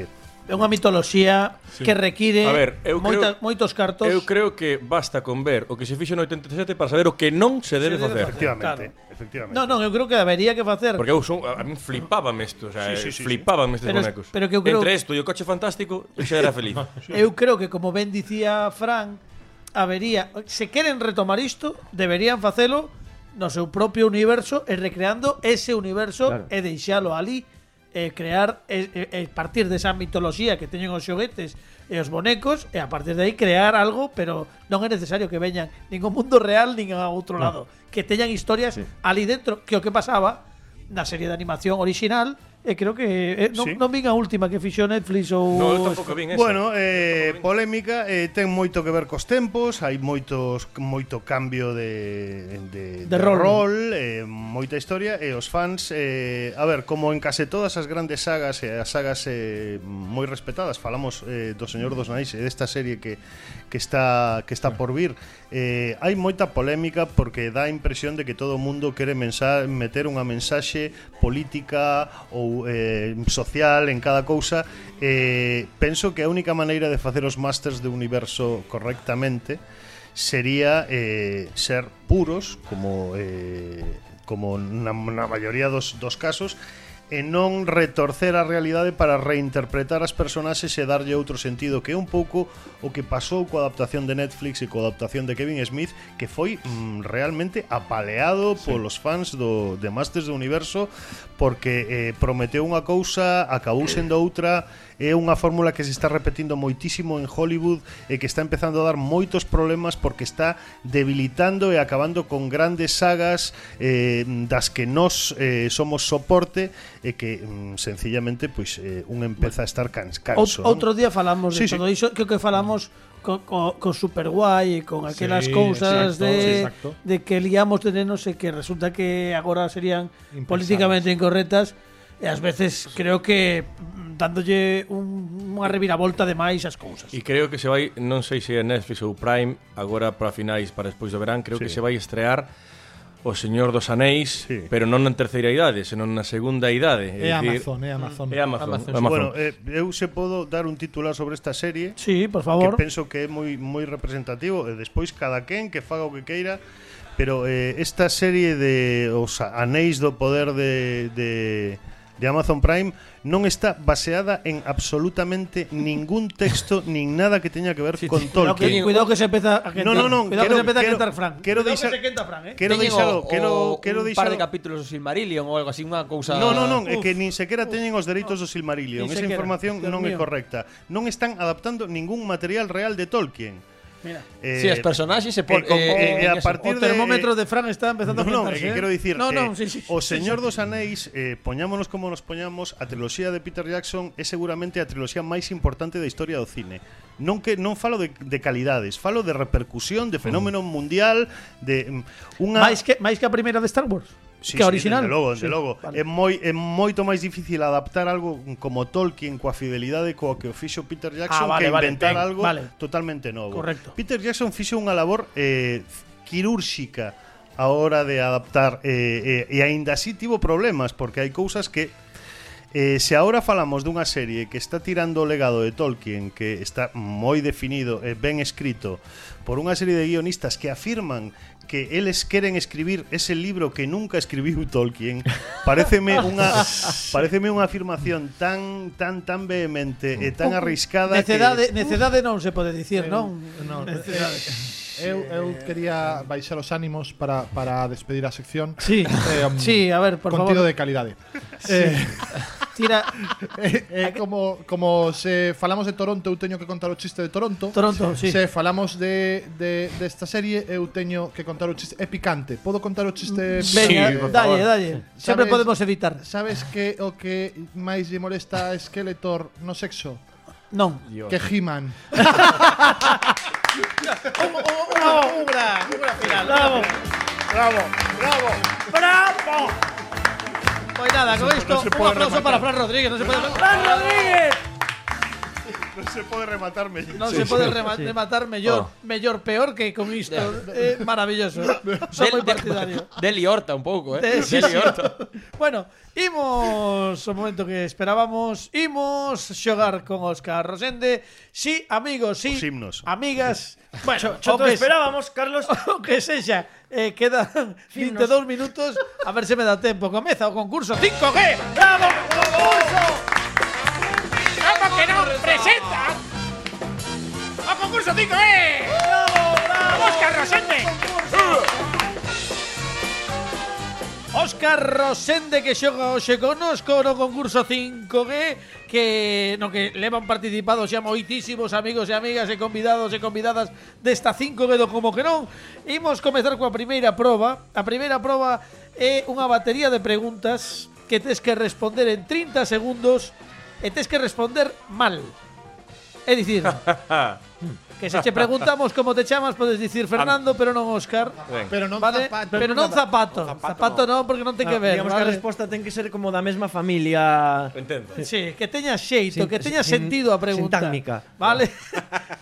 B: É unha mitoloxía que require
G: A ver, eu
B: moita-
G: creo-
B: moitos cartos.
G: Eu creo que basta con ver o que se fixo no 87 para saber o que non se debe
B: debe
G: facer.
B: facer.
E: efectivamente,
B: Claro.
E: efectivamente.
B: No, non, eu creo que habería que facer.
G: Porque eu son, a a min flipábame isto, o sea,
E: Sí, sí,
G: sí,
E: sí, sí.
G: sí, flipábame estes
B: Pero-
G: bonecos.
B: pero que eu creo-
G: Entre isto e o coche fantástico, eu xa era
B: [laughs]
G: feliz.
B: Eu creo que como ben dicía Fran, habería, se queren retomar isto, deberían facelo no seu propio universo e recreando ese universo
D: Claro.
B: e deixalo ali e crear e, e, e partir desa mitoloxía que teñen os xoguetes e os bonecos e a partir de aí crear algo, pero non é necesario que veñan nin ao mundo real nin a outro lado, que teñan historias ali dentro, que o que pasaba na serie de animación original e creo que eh, non,
E: Sí.
B: non vin a última que fixo Netflix ou
G: no, eu tampouco vin esa.
E: Bueno, eh, polémica eh, ten moito que ver cos tempos Hai moitos moito cambio de, de,
B: De rol.
E: eh, Moita historia E os fans eh, A ver, como en case todas as grandes sagas E as sagas eh, moi respetadas Falamos eh, do Señor dos Nais E desta serie que, que está que está por vir eh, Hai moita polémica Porque dá a impresión de que todo o mundo Quere mensa meter unha mensaxe Política ou eh, social En cada cousa eh, Penso que a única maneira de facer os masters Do universo correctamente sería eh, ser puros como eh, como na, na maioría dos, dos casos e non retorcer a realidade para reinterpretar as personaxes e darlle outro sentido que é un pouco o que pasou coa adaptación de Netflix e coa adaptación de Kevin Smith que foi mm, realmente apaleado polos fans do, de Masters do Universo porque eh, prometeu unha cousa, acabou sendo outra é unha fórmula que se está repetindo moitísimo en Hollywood e que está empezando a dar moitos problemas porque está debilitando e acabando con grandes sagas eh, das que nos eh, somos soporte e que mm, sencillamente pois eh, un empeza a estar cans canso.
B: Out- Outro día falamos
E: Sí,
B: de
E: sí.
B: todo iso, creo que falamos co, co, con Superguai e con
F: Sí,
B: aquelas cousas
F: exacto,
B: de,
F: sí, exacto.
B: de que liamos de nenos e que resulta que agora serían políticamente incorrectas e ás veces creo que mm, dándolle un, unha reviravolta de máis as cousas.
G: E creo que se vai, non sei se é Netflix ou Prime, agora para finais, para despois do verán, creo sí. que se vai estrear O Señor dos Anéis,
E: Sí.
G: sí. pero non na terceira idade, senón na segunda idade.
H: É
G: é dicir,
H: Amazon, é Amazon.
G: É Amazon. Amazon. Amazon.
E: Bueno, eh, eu se podo dar un titular sobre esta serie
B: Sí, por
E: que
B: favor.
E: penso que é moi moi representativo e despois cada quen que faga o que queira pero eh, esta serie de os anéis do poder de, de de Amazon Prime non está baseada en absolutamente ningún texto [laughs] nin nada que teña que ver con
B: Cuidado que,
E: Tolkien.
B: cuidado que se empeza a quentar.
E: No, no, no,
B: Cuidado que
E: quero-
B: se empeza a
E: quero-
B: quentar Fran.
E: quero
B: Cuidado que
E: deixar-
B: se quenta Fran, eh.
E: Quero
C: Teñen
E: deixalo,
C: o-
E: quero
C: o
E: quero
C: un par
E: deixalo.
C: de capítulos do Silmarillion ou algo así, unha cousa...
E: No, no, non,
B: Uf,
E: é que nin sequera teñen os dereitos do
B: Nin
E: Silmarillion. Esa
B: sequera,
E: información
B: Dios
E: non é
B: mío.
E: correcta. Non están adaptando ningún material real de Tolkien.
B: Mira.
E: Eh,
C: Si, as personaxes se eh,
E: e
C: pon...
E: con-
B: eh,
E: e- e a
C: eso.
E: partir-
B: O
E: de-
B: termómetro de Fran está empezando
E: No,
B: a
E: no,
B: quentarse.
E: é que
B: eh.
E: quero dicir
B: No, no,
E: eh,
B: sí, sí.
E: O Señor dos Anéis eh, Poñámonos como nos poñamos A triloxía de Peter Jackson É seguramente a triloxía máis importante da historia do cine Non que non falo de, de calidades Falo de repercusión, de fenómeno mundial De mm, unha
B: Mm. máis que máis que a primeira de Star Wars.
E: Sí,
B: que a
E: sí,
B: original.
E: Dende logo, dende logo. É, moi, é moito máis difícil adaptar algo como Tolkien coa fidelidade coa que o fixo Peter Jackson
B: Ah, vale,
E: que
B: vale,
E: inventar
B: ben,
E: algo
B: vale.
E: totalmente novo.
B: Correcto.
E: Peter Jackson fixo unha labor eh, quirúrxica a hora de adaptar eh, eh, e aínda así tivo problemas porque hai cousas que Eh, se agora falamos dunha serie que está tirando o legado de Tolkien, que está moi definido e ben escrito por unha serie de guionistas que afirman que eles queren escribir ese libro que nunca escribiu [laughs] Tolkien, pareceme
B: [laughs]
E: unha pareceme unha afirmación tan tan tan vehemente e tan arriscada
B: Necedade,
E: que
B: necedade non se pode dicir, non?
H: No, Eh,
B: Necedade.
H: é, eu, eu quería baixar os ánimos para, para despedir a sección. [laughs]
B: Sí,
H: Em,
B: sí, a ver, por
H: contido
B: favor.
H: de calidade. [laughs] Eh,
B: Tira
H: eh, eh, como como se falamos de Toronto, eu teño que contar o chiste de Toronto.
B: Toronto, sí.
H: Se falamos de, de desta serie, eu teño que contar o chiste é picante. Podo contar o chiste
B: Venga,
H: picante?
B: dalle, dalle. Siempre
H: Sabes-
B: podemos evitar.
H: Sabes que o que máis lle molesta a Skeletor no sexo?
B: No.
H: Que He-Man.
B: Bravo,
E: ¡Bravo! ¡Bravo!
B: bravo. Pues nada, con esto,
E: se
B: un
E: puede
B: aplauso
E: rematar.
B: para Fran Rodríguez. No se puede. ¡Fran Rodríguez!
E: No se puede rematarme.
B: No se puede rema- rematar mejor, mejor peor que con esto. Eh, maravilloso. Soy muy
C: [laughs]
B: partidario.
G: Deli Horta un pouco, eh?
B: Eh, sí,
G: Deli
B: sí.
G: Horta.
B: Bueno, imos o momento que esperábamos Imos xogar con Óscar Rosende Sí, amigos, sí
E: Os himnos.
B: Amigas Bueno,
D: Yo
B: o que,
D: esperábamos, Carlos.
B: [laughs] o que sexa eh, Quedan 22 minutos A ver se me dá tempo Comeza o concurso 5G Bravo, concurso Como que non presenta O concurso 5G Bravo, bravo Óscar Rosende Óscar Rosende que xoga hoxe conosco no concurso 5G que no que levan participado xa moitísimos amigos e amigas e convidados e convidadas desta 5G do como que non. Imos comezar coa primeira proba. A primeira proba é unha batería de preguntas que tes que responder en 30 segundos e tes que responder mal. É dicir, que se che preguntamos como te chamas, podes dicir Fernando, pero non Óscar.
H: Pero non
B: Vale,
H: zapato.
B: pero non zapato. Zapato, non, porque non ten que ver.
D: Ah, Digamos que a
B: vale?
D: resposta ten que ser como da mesma familia.
G: Entendo.
B: Sí, que teña xeito,
D: Sin-
B: que teña
D: sin-
B: sentido a pregunta.
D: sintagmica.
B: Vale. [laughs]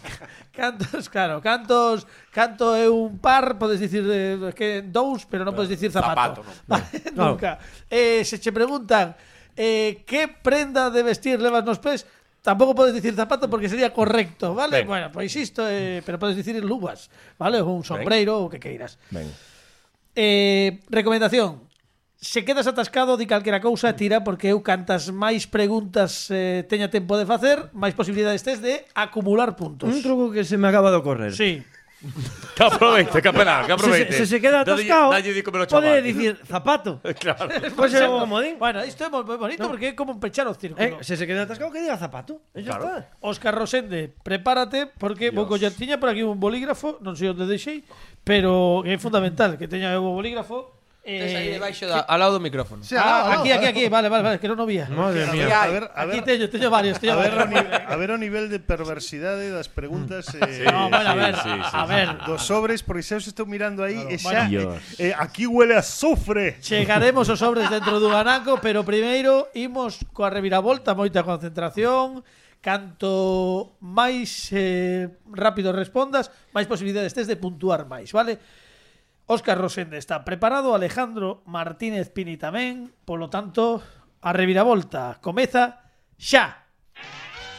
B: cantos, claro, cantos, canto é un par, podes dicir eh, que dous, pero non podes dicir
I: Zapato,
B: zapato.
I: non.
B: [laughs] Vale,
D: Claro.
B: nunca. Eh, se che preguntan eh, que prenda de vestir levas nos pés, Tampouco podes dicir zapato porque sería correcto, vale?
G: Ben.
B: Bueno, pois isto, eh, pero podes dicir luvas, vale? Ou un sombreiro, ou o que queiras.
F: Ben.
B: Eh, recomendación. Se quedas atascado di calquera cousa, tira porque eu cantas máis preguntas eh, teña tempo de facer, máis posibilidades tes de acumular puntos.
D: Un truco que se me acaba de ocorrer. [laughs]
B: Sí.
G: Que aproveite, que penal, que
D: Se,
G: aproveite.
D: se, se se queda
G: Dalle-
D: atascado,
G: dalle de comer ao chaval.
D: pode dicir
B: [laughs]
D: zapato.
G: Claro.
D: Pode ser como comodín.
B: Pois Bueno, isto é moi moi bonito porque é como pechar o
D: Eh,
B: círculo.
D: se se queda atascado, que diga zapato. E ya está.
B: Óscar Rosende, prepárate porque vou coller tiña por aquí un bolígrafo, non sei onde deixei, pero é fundamental que teña o bolígrafo.
C: Tes
B: Eh,
C: aí debaixo da, al lado do micrófono.
H: Sí,
B: ah,
H: alao, alao.
B: aquí, aquí, aquí, vale, vale, vale, que non o vía.
D: Madre
E: A
D: mía.
E: ver, a ver, a
B: Aquí
E: ver,
B: teño, teño varios, teño
E: a ver,
B: varios.
E: o nivel, a ver o nivel de perversidade das preguntas eh,
B: No, bueno, a ver,
G: sí, sí,
B: a
G: sí.
B: ver,
E: dos sobres, porque xa os estou mirando aí e xa,
F: Bueno.
E: eh, eh, aquí huele a sofre.
B: Chegaremos aos sobres dentro do anaco, pero primeiro imos coa reviravolta, moita concentración. Canto máis eh, rápido respondas, máis posibilidades tes de puntuar máis, vale? Óscar Rosende está preparado, Alejandro Martínez Pini tamén, polo tanto, a reviravolta comeza xa.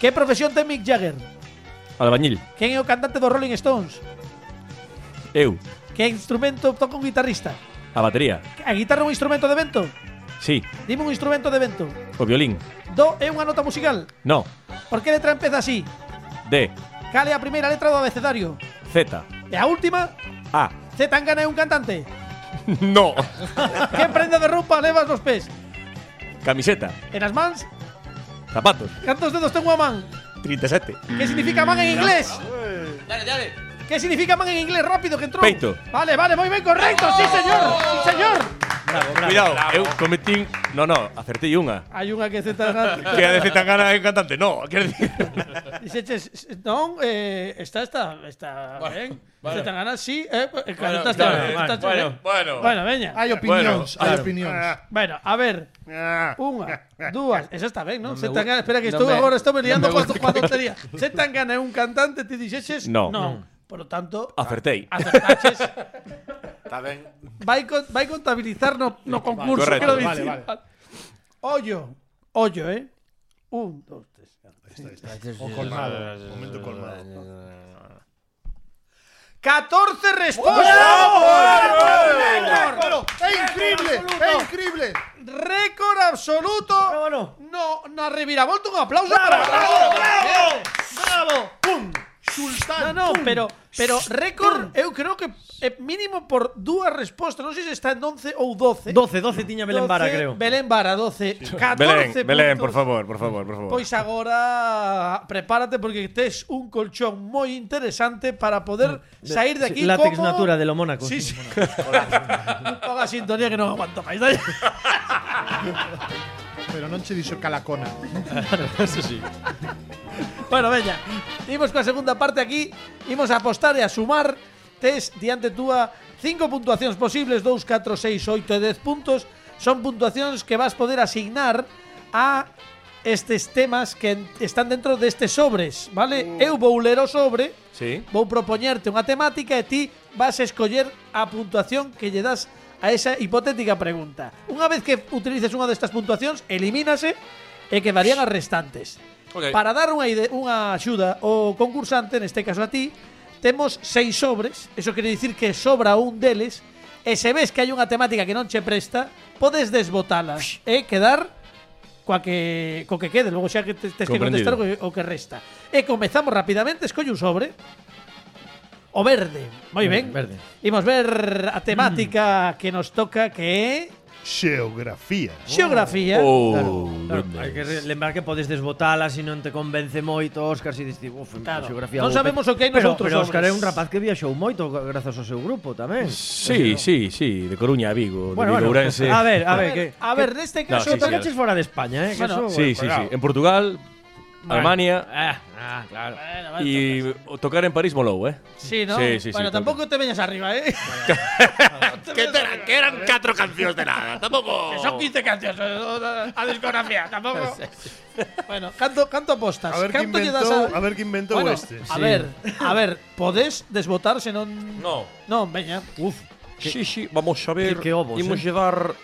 B: Que profesión ten Mick Jagger?
G: Albañil.
B: Quen é o cantante dos Rolling Stones?
G: Eu.
B: Que instrumento toca un guitarrista?
G: A batería.
B: A guitarra é un instrumento de vento?
G: Sí.
B: Dime un instrumento de vento.
G: O violín.
B: Do é unha nota musical.
G: No.
B: Por que letra empeza así?
G: D.
B: Cale a primeira letra do abecedario.
G: Z.
B: E a última,
G: A. [laughs]
B: C Tangana é un cantante.
G: No.
B: que prenda de roupa levas nos pés?
G: Camiseta.
B: En as mans,
G: Zapatos.
B: cantos dedos ten unha man?
G: 37.
B: Que significa man en inglés?
C: Dale, dale.
B: Que significa man en inglés? Rápido, que entrou.
G: Peito.
B: Vale, vale, moi ben, correcto. Sí, señor. Sí,
C: ¡Oh!
B: señor.
G: Cuidado, eu cometín... No, no, acertei unha.
B: Hai unha que Z Tangana...
G: [laughs] Que a de Zetangana é un cantante. No, quero dicir...
B: Dixeches, non, eh, está, está, está
C: Bueno,
B: ben.
C: bueno.
B: Z Tangana sí, eh, eh, claro,
C: Bueno,
B: está, está,
C: bueno,
B: está, está
G: bueno,
B: ben.
G: bueno.
B: Bueno, veña.
H: Hai opinións, hai opinións.
B: Bueno, a ver,
E: Ah,
B: Unha, dúas, esa está ben, non?
C: Non me
B: Z Tangana,
C: gu-
B: espera que
C: non
B: estou
C: me-
B: agora estou me liando
C: non
B: coa
C: me gusta
B: coa tontería. Z Tangana é un cantante, ti dixeches?
G: No.
B: non. Por lo tanto,
G: Acertei.
B: acertaches.
I: Está ben.
B: vai, con, vai contabilizar no, no concurso, quero
G: correcto. Vale,
B: dicir. Ollo, ollo, eh? Un, dos, tres.
C: Este
E: Momento colmado.
B: 14 respostas. Récord,
H: É increíble, é increíble.
B: récord absoluto.
D: Bueno,
B: No, na reviravolta un aplauso para Bravo, bravo. Pum. Sultán. nada, no, pero pero récord, eu creo que eh, mínimo por dúas respostas, non sei se está en 11 ou 12.
D: 12, 12 tiña Belén Vara, creo.
B: Belén Vara 12, 14
F: Belén,
B: puntos.
F: Belén, por favor, por favor, por favor.
B: Pois agora prepárate porque tes un colchón moi interesante para poder sair de aquí
D: Sí, látex
B: como...
D: natura de lo Mónaco.
B: Sí,
D: [laughs]
B: sí. Ponga sintonía que non aguanto máis. Dale.
H: Pero non che dixo calacona.
B: Bueno, veña. Imos coa segunda parte aquí. Imos a apostar e a sumar. Tes diante túa cinco puntuacións posibles, 2, 4, 6, 8 e 10 puntos. Son puntuacións que vas poder asignar a estes temas que en- están dentro destes sobres, vale? Eu vou ler o sobre,
G: Sí.
B: vou propoñerte unha temática e ti vas a escoller a puntuación que lle das a esa hipotética pregunta. Unha vez que utilices unha destas puntuacións, elimínase e quedarían as restantes.
G: Ok.
B: Para dar unha, ide- unha axuda ao concursante, neste caso a ti, temos seis sobres, eso quere dicir que sobra un deles, e se ves que hai unha temática que non che presta, podes desbotalas e quedar coa que, co que quede, logo xa que tes, tes que contestar
G: Comprendido.
B: o, que- o que resta. E comezamos rapidamente, escollo un sobre. O verde. Moi ben.
D: Verde.
B: Imos ver a
G: Mm.
B: temática que nos toca que é
E: Xeografía.
B: xeografía.
G: Oh,
D: [laughs] Claro, hai que re- lembrar que podes desbotala se non te convence moito, Óscar, si dices, uf,
B: Claro.
D: a xeografía...
B: Non
D: vou pe-".
B: sabemos o que hai
D: pero,
B: nosoutros,
D: Pero Óscar
B: hombres.
D: é un rapaz que viaxou moito grazas ao seu grupo tamén.
G: Sí, sí, sí, de Coruña a Vigo,
D: Bueno,
G: de Vigo
D: bueno,
G: a Ourense.
D: a ver, a ver, que,
B: a ver, neste
G: No,
B: caso
G: sí,
D: Pero
G: sí,
D: te caches fora de España, eh, que
B: Bueno. pues
D: eso,
G: Sí, sí, sí, en Portugal, Alemania
D: Ah, ah, claro.
G: y o tocar en París molou, eh.
B: Sí, ¿no?
G: Sí, sí,
B: bueno,
G: sí,
B: tampoco te veñas arriba,
G: [laughs]
B: ¿eh?
I: Que, eran, que eran cuatro canciones de nada, tampoco.
B: Que son 15 canciones. A discografía, tampoco. bueno, canto, canto apostas.
E: A ver que
B: canto lle das
E: inventou, a ver que inventou
B: Bueno,
E: este.
B: A ver, a ver, podés desbotar se non
G: No.
B: No, veña.
D: Uf,
G: Sí, sí, vamos a ver.
D: que- que ovos,
G: Imos
D: eh.
G: llevar,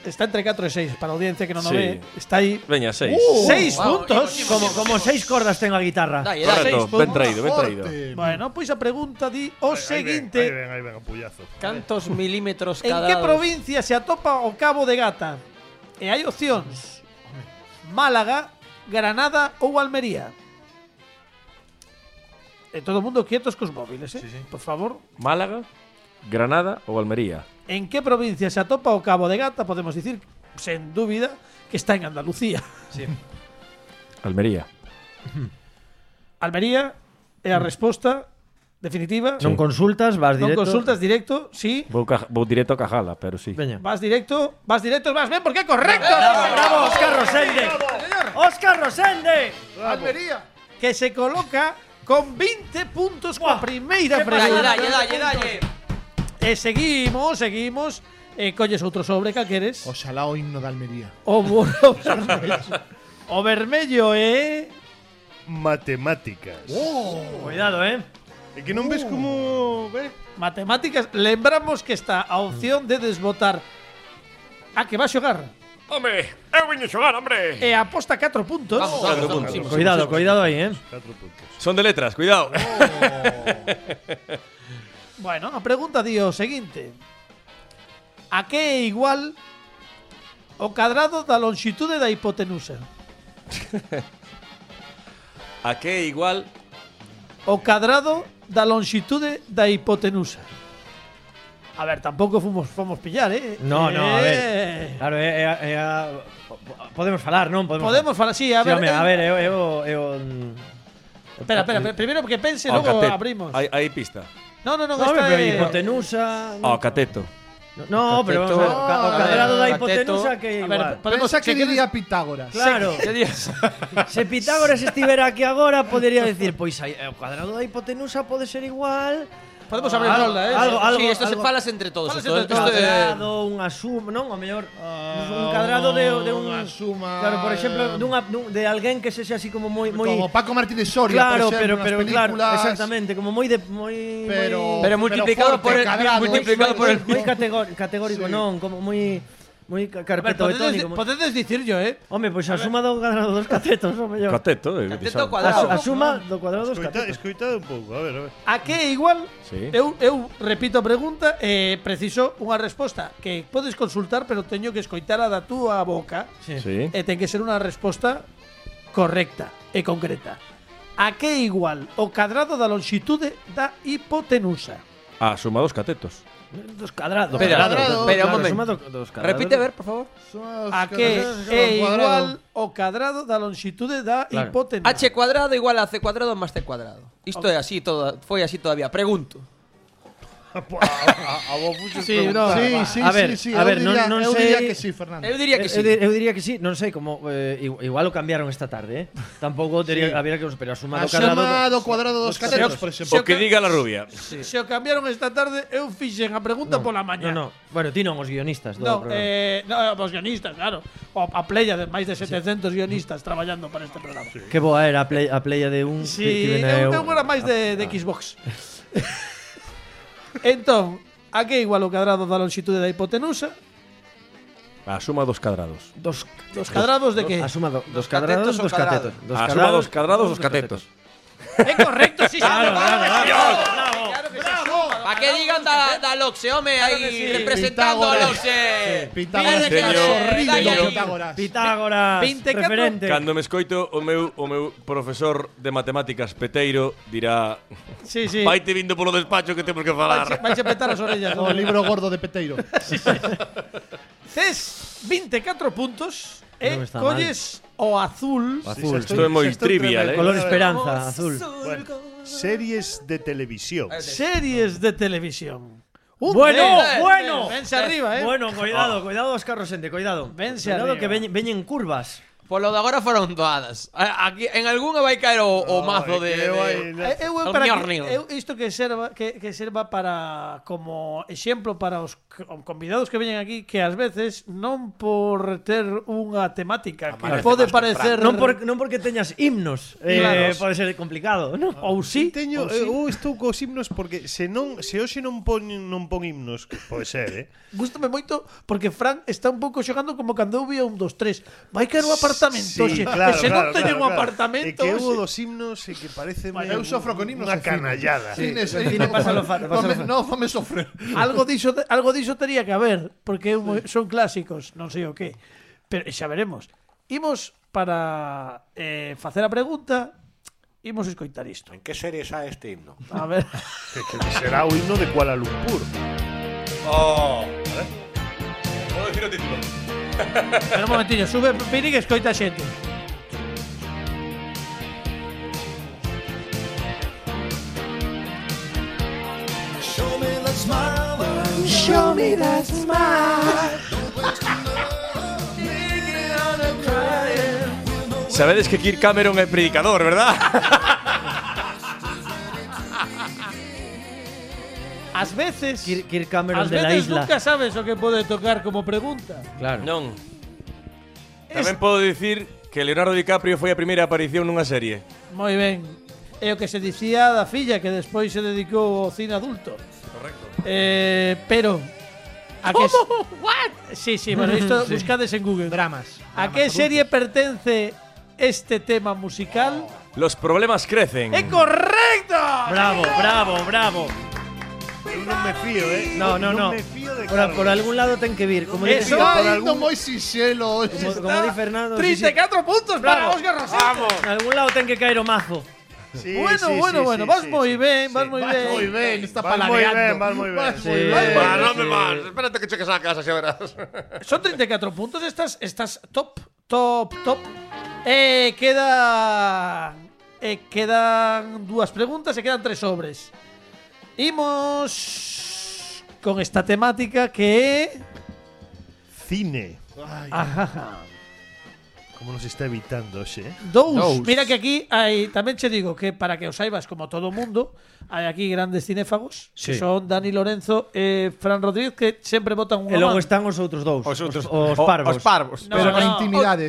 B: Está entre 4 e 6 para a audiencia que non o
G: Sí. Uh,
B: ve. Está aí
G: veña, seis.
D: Uh,
B: 6
C: wow,
B: puntos.
C: imos-
D: como, como seis cordas ten a guitarra.
C: Dai, dai.
B: seis
G: Correcto, ben
B: puntos.
G: traído, ben traído.
B: Bueno, pois a pregunta di o seguinte.
E: Ahí ven, ahí ven, pullazo.
C: Cantos milímetros
B: En
C: cada
B: que
C: dos?
B: provincia se atopa o Cabo de Gata? E hai opcións. Málaga, Granada ou Almería. E todo mundo quietos cos móviles, eh? Por favor.
G: Málaga, Granada ou Almería.
B: En que provincia se atopa o Cabo de Gata? Podemos dicir, sen dúbida, que está en Andalucía.
G: Almería.
B: Almería é
C: Mm.
B: a resposta definitiva.
D: Non consultas, vas
B: Non
D: directo.
B: consultas directo, sí.
G: Vou, ca- vou directo a Cajala, pero sí.
D: Veña.
B: Vas directo, vas directo, vas bien, porque é correcto.
D: Bravo, Óscar Rosende. Óscar Rosende.
H: Almería.
B: que se coloca con 20 puntos coa primeira
C: Dalle,
B: pregunta.
C: dalle, dalle, dalle.
B: E seguimos, seguimos. E colles outro sobre, cal queres?
H: Oxalá o himno de Almería.
B: O, bo- o vermello. o eh. vermello é...
E: Matemáticas.
C: Oh,
D: Cuidado, eh.
E: É que non ves como... eh,
B: Matemáticas. Lembramos que está a opción de desbotar a que va a xogar.
I: Hombre, eu veño xogar, hombre.
B: E aposta 4 puntos.
C: Vamos, vamos, vamos. vamos.
D: Cuidado, cuidado aí, eh.
E: Catro puntos.
G: Son de letras, cuidado.
B: Bueno, a pregunta di o seguinte. A que é igual o cadrado da longitude da hipotenusa?
G: A que é igual
B: O cadrado da longitude da hipotenusa. A ver, tampouco fomos, fomos pillar, eh?
D: No, no, a ver.
B: Eh,
D: Claro, é, é, é a, po- po- ah, podemos falar, non? Podemos.
B: Podemos falar así, a
D: Sí,
B: ver.
D: home, a
B: eh,
D: ver, eu, eu, eu
B: Espera, espera, espera, primeiro que pense,
G: ao
B: logo
G: cateto.
B: abrimos.
G: Hai, hai pista.
B: No, no, no,
D: Oh, No,
B: esta
D: pero
B: é-
D: hipotenusa.
G: Ao cateto.
D: No, pero vamos Oh, a ver, o ca- o
C: Ah,
D: cadrado da
C: cateto.
D: hipotenusa que é
B: A
D: igual.
B: ver, podemos
H: Pensa que
B: se queres-
H: diría Pitágoras.
D: claro.
G: Que días?
D: Se Pitágoras estivera aquí agora, podería decir, pois aí, o cuadrado da hipotenusa pode ser igual
B: Podemos abrir
D: Algo-
B: rolda, eh?
D: algo- algo-
C: sí, esto
D: algo-
C: se falas entre todos.
B: Falas
C: esto-
B: entre
C: esto
B: todos.
D: este-
C: de-
D: cuadrado, unha suma, non? O mellor,
B: Ah,
D: un cadrado de, de un...
H: Unha suma-
D: Claro, por exemplo, dunha, dun, de alguén que sexe así como moi... moi
H: Ah. Como Paco Martínez Soria,
D: claro,
H: por
D: pero,
H: exemplo,
D: pero
H: nas
D: claro,
H: películas,
D: exactamente, como moi de... Moi,
H: Pero,
C: Pero multiplicado
H: fuerte,
C: por el-
H: cadrado.
C: multiplicado por el-
D: moi, moi categórico, categórico
H: Sí.
D: non, como moi... Moi
B: A
D: ca-
B: ver,
D: carpeto
B: podedes,
D: betónico. moi-
B: podedes dicir yo, eh?
D: Home, pois a suma do cadrado pues dos catetos, o mellor.
G: Cateto, eh, que
C: Cateto
G: sabe.
D: A, su-
C: cuadrado.
D: a suma do cuadrado dos
E: Escoita,
D: catetos.
E: escoitade un pouco, a ver, a ver.
B: A que é igual?
G: Sí.
B: Eu, eu repito a pregunta e preciso unha resposta que podes consultar, pero teño que escoitar a da túa boca.
D: Sí.
G: Sí.
B: E ten que ser unha resposta correcta e concreta. a que é igual o cadrado da lonxitude da hipotenusa?
G: Ah, suma dos catetos.
D: Dos cadrados.
C: Espera,
D: Cadrado,
C: espera
D: claro,
C: un momento.
D: suma do- dos cadrados.
C: Repite, a ver, por favor.
B: A que é
D: Eh,
B: igual o cadrado da lonxitude da
D: Claro.
B: hipotenusa?
C: H cuadrado igual a C cuadrado más C cuadrado. Isto é así, toda, foi así todavía. Pregunto.
B: Sí, bro.
H: Sí, sí,
D: A ver,
H: sí, sí.
D: a ver,
H: eu
D: non-
H: diría,
D: non
H: eu
D: sei-
H: diría que sí, Fernando.
C: Eu diría que
D: Eu,
C: sí.
D: di- eu Eh, diría que sí, non sei como eh, igu- igual o cambiaron esta tarde, eh. Tampouco tería había que pero a suma
H: A
D: do cadrado.
H: chamada do cuadrado dos catetos, por exemplo.
G: O que diga la rubia.
B: Se o cambiaron esta tarde, eu fixen a pregunta pola mañá.
D: No, no. Bueno, ti non os guionistas do
B: No,
D: programa.
B: eh, no, eh, os guionistas, claro. O, a playa de máis de 700 guionistas traballando para este programa. Sí,
D: Que boa era a, play, a playa de E un
B: sí eu, eu era máis de, de Xbox. [laughs] entón, a que é igual o cadrado da lonxitude da hipotenusa?
G: A Ah, suma dos cadrados.
D: dos
B: Os cadrados de que?
D: A suma do, dos
C: Dos
D: cadrados
C: catetos
D: dos
C: ou cadrados?
D: catetos.
G: A Ah, suma dos cadrados dos catetos.
B: É correcto, sí, claro, claro,
C: Pa que digan da, da Loxe, home, aí representando a
H: Pitágoras.
C: Loxe.
H: Pitágoras,
C: Mira,
G: señor.
C: eh,
H: horrible
C: dai
H: con
C: aí.
H: Pitágoras.
D: Pitágoras,
B: 24.
D: referente.
G: Cando me escoito o meu o meu profesor de matemáticas Peteiro dirá,
B: Sí, sí.
G: "Vaite vindo polo despacho que temos que
B: Vaiche-
G: falar".
B: Vaiche petar as
D: [laughs]
B: orellas.
H: O libro gordo de Peteiro.
B: Tes 24 puntos e
D: Non está mal.
B: colles o azul.
G: Azul,
H: estoy-
G: isto é moi
H: estoy
G: trivial,
H: tremendo.
G: eh.
D: Color esperanza, azul.
E: Series de televisión.
B: Series de televisión. Un
D: Bueno,
B: dez.
D: bueno.
B: Vense arriba, eh.
D: Bueno, cuidado, cuidado os carros ente, cuidado.
B: Vense
D: cuidado
B: arriba.
D: que veñen, veñen curvas.
C: Por lo Pues de agora foron doadas. A- Aquí, en algunha vai caer o, o mazo de...
E: que vai-
C: de...
B: Eh, Eu, eu
C: Don
B: para que,
C: Mjornir.
B: eu isto que serva que, que serva para como exemplo para os c- convidados que veñen aquí que ás veces non por ter unha temática que pode parecer
D: Non, por, non porque teñas himnos, eh,
B: Claro. Oh.
D: pode ser complicado, non?
B: ou si ou
E: Teño,
B: si.
E: eu estou cos eh, uh, himnos porque se non se hoxe non pon non pon himnos, que pode ser, eh.
B: Gústame moito porque Fran está un pouco xogando como cando eu vía un dos tres. Vai caer o apartamento, xe. e se non teñen un
E: É
B: apartamento,
E: que
B: xe.
E: houbo dos himnos e que parece
H: Bueno, eu sofro con himnos
E: Unha
H: e cine.
E: canallada.
H: Cines,
D: el cine pásalo fa- pásalo fa-
H: No, fame sofrer.
B: algo diso algo diso tería que haber, porque eu mo- son clásicos, non sei o que. Pero xa veremos. Imos para eh, facer a pregunta, imos escoitar isto.
I: ¿En qué serie está este himno?
B: A ver. [laughs]
E: Que, que será o himno de Kuala Lumpur.
B: Pero un momentinho, sube Pini que escoita a xente.
G: Sabedes que Kirk Cameron é predicador, ¿verdad?
B: Ás veces,
D: Kirk, Kirk Cameron
B: ás
D: de la
B: veces
D: isla.
B: nunca sabes o que pode tocar como pregunta.
D: Claro.
G: Non. Tamén podo dicir que Leonardo DiCaprio foi a primeira aparición nunha serie.
B: Moi ben. É o que se dicía da filla que despois se dedicou ao cine adulto. Correcto. Eh, pero
D: [laughs]
B: a
D: Oh,
B: que Como? What? Sí, sí, bueno, isto buscades en Google.
H: Dramas.
B: A que serie pertence este tema musical?
G: Los problemas crecen.
B: ¡É correcto!
D: Bravo, bravo, bravo.
E: Eu non me fío, eh.
D: No, no, no.
E: Non me fío de
D: Por, por algún lado ten que vir. Como dice,
B: Eso.
H: Está
E: por
H: indo
E: algún-
H: moi sinxelo. hoxe.
D: como, como di Fernando, sí, sí.
B: 34 puntos para
D: Bravo.
B: Óscar Rosell.
D: en algún lado ten que caer o mazo.
E: Sí,
B: Bueno,
E: sí,
B: bueno,
E: sí,
B: bueno,
E: sí,
B: vas
E: sí,
B: moi
E: sí,
B: ben,
E: sí.
B: vas moi
H: Vas
B: ben.
H: moi ben, está
E: Vas moi
H: paladeando.
E: ben, vas moi ben.
H: moi
D: Sí.
H: ben.
I: Ah, no me más. Espérate que cheques a la casa, ya verás.
B: Son 34 puntos, estas, estas top, top, top. Eh, queda. eh, quedan dúas preguntas e quedan tres sobres. Imos con esta temática que é
E: Cine.
B: Ajaja.
E: Como nos está evitando, xe. eh?
B: dous. Mira que aquí hai, tamén che digo que para que os saibas como todo o mundo, hai aquí grandes cinéfagos, que son Dani Lorenzo e Fran Rodríguez que sempre botan unha
D: E logo
B: man.
D: están os outros dous.
I: Os outros-
D: os, parvos.
I: Os parvos.
B: No, no,
H: Pero na intimidade,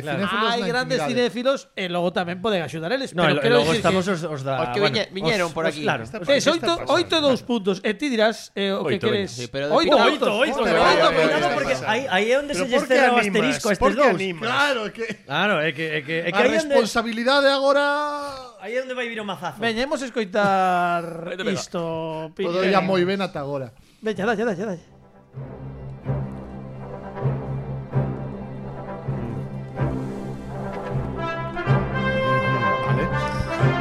B: o-
H: cinéfilos
B: Hai
H: na
B: grandes
H: intimidade.
B: cinéfilos e logo tamén poden axudar eles,
D: No,
B: pero
D: e lo- e
B: quero
D: logo
B: dicir
D: estamos
B: que
D: os, os da...
C: Os que viñe- viñeron por aquí.
D: Claro.
E: Está-
B: Es
E: ¿Qué está
B: 8,
E: pasando?
B: 8 dos puntos. E ti dirás eh, o que
G: Oito,
B: queres.
G: veña. Sí,
C: pero de
B: 8, 8,
C: punto.
D: Oito, oito,
E: Pero bueno,
D: cuidado,
E: ¿qué
D: porque
E: pasa?
D: aí, aí é onde se
E: Pero
D: lles
E: por que
D: cerra o
E: animas?
D: asterisco a
E: Por
D: estes
E: que
D: dous.
E: animas?
H: Claro, é que
D: Claro, é que, é que, é que
H: a
D: aí é onde,
H: responsabilidade agora
D: aí é onde vai vir o mazazo.
B: Veñemos a escoitar
G: Vete, venga.
B: isto. Piñe.
H: todo ia moi ben ata agora.
B: Veña, dalle, dalle, dalle.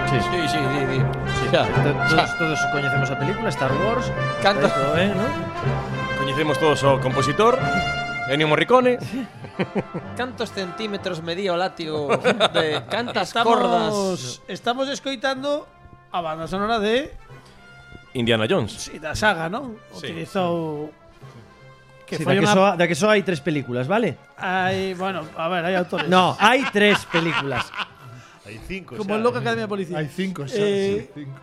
D: Sí, sí.
C: di, di. Sí, ya.
D: Todos, todos coñecemos a película, Star Wars.
C: Canta.
D: Todo, eh, ¿no?
G: Coñecemos todos o compositor, Ennio Morricone.
C: Cantos centímetros medía o látigo [laughs] de cantas cordas.
B: Estamos, estamos escoitando a banda sonora de
G: Indiana Jones.
B: sí, da saga, non?
G: Sí.
B: Utilizou que
D: Sí, da,
B: foi
D: que
B: unha
D: só, da que só hai tres películas, vale?
B: hai, bueno, a ver, hai autores.
D: No, hai tres películas.
E: Hay cinco.
B: Como en Loca Academia de Policía.
H: Hay cinco, xa,
B: Eh,
H: sí, cinco.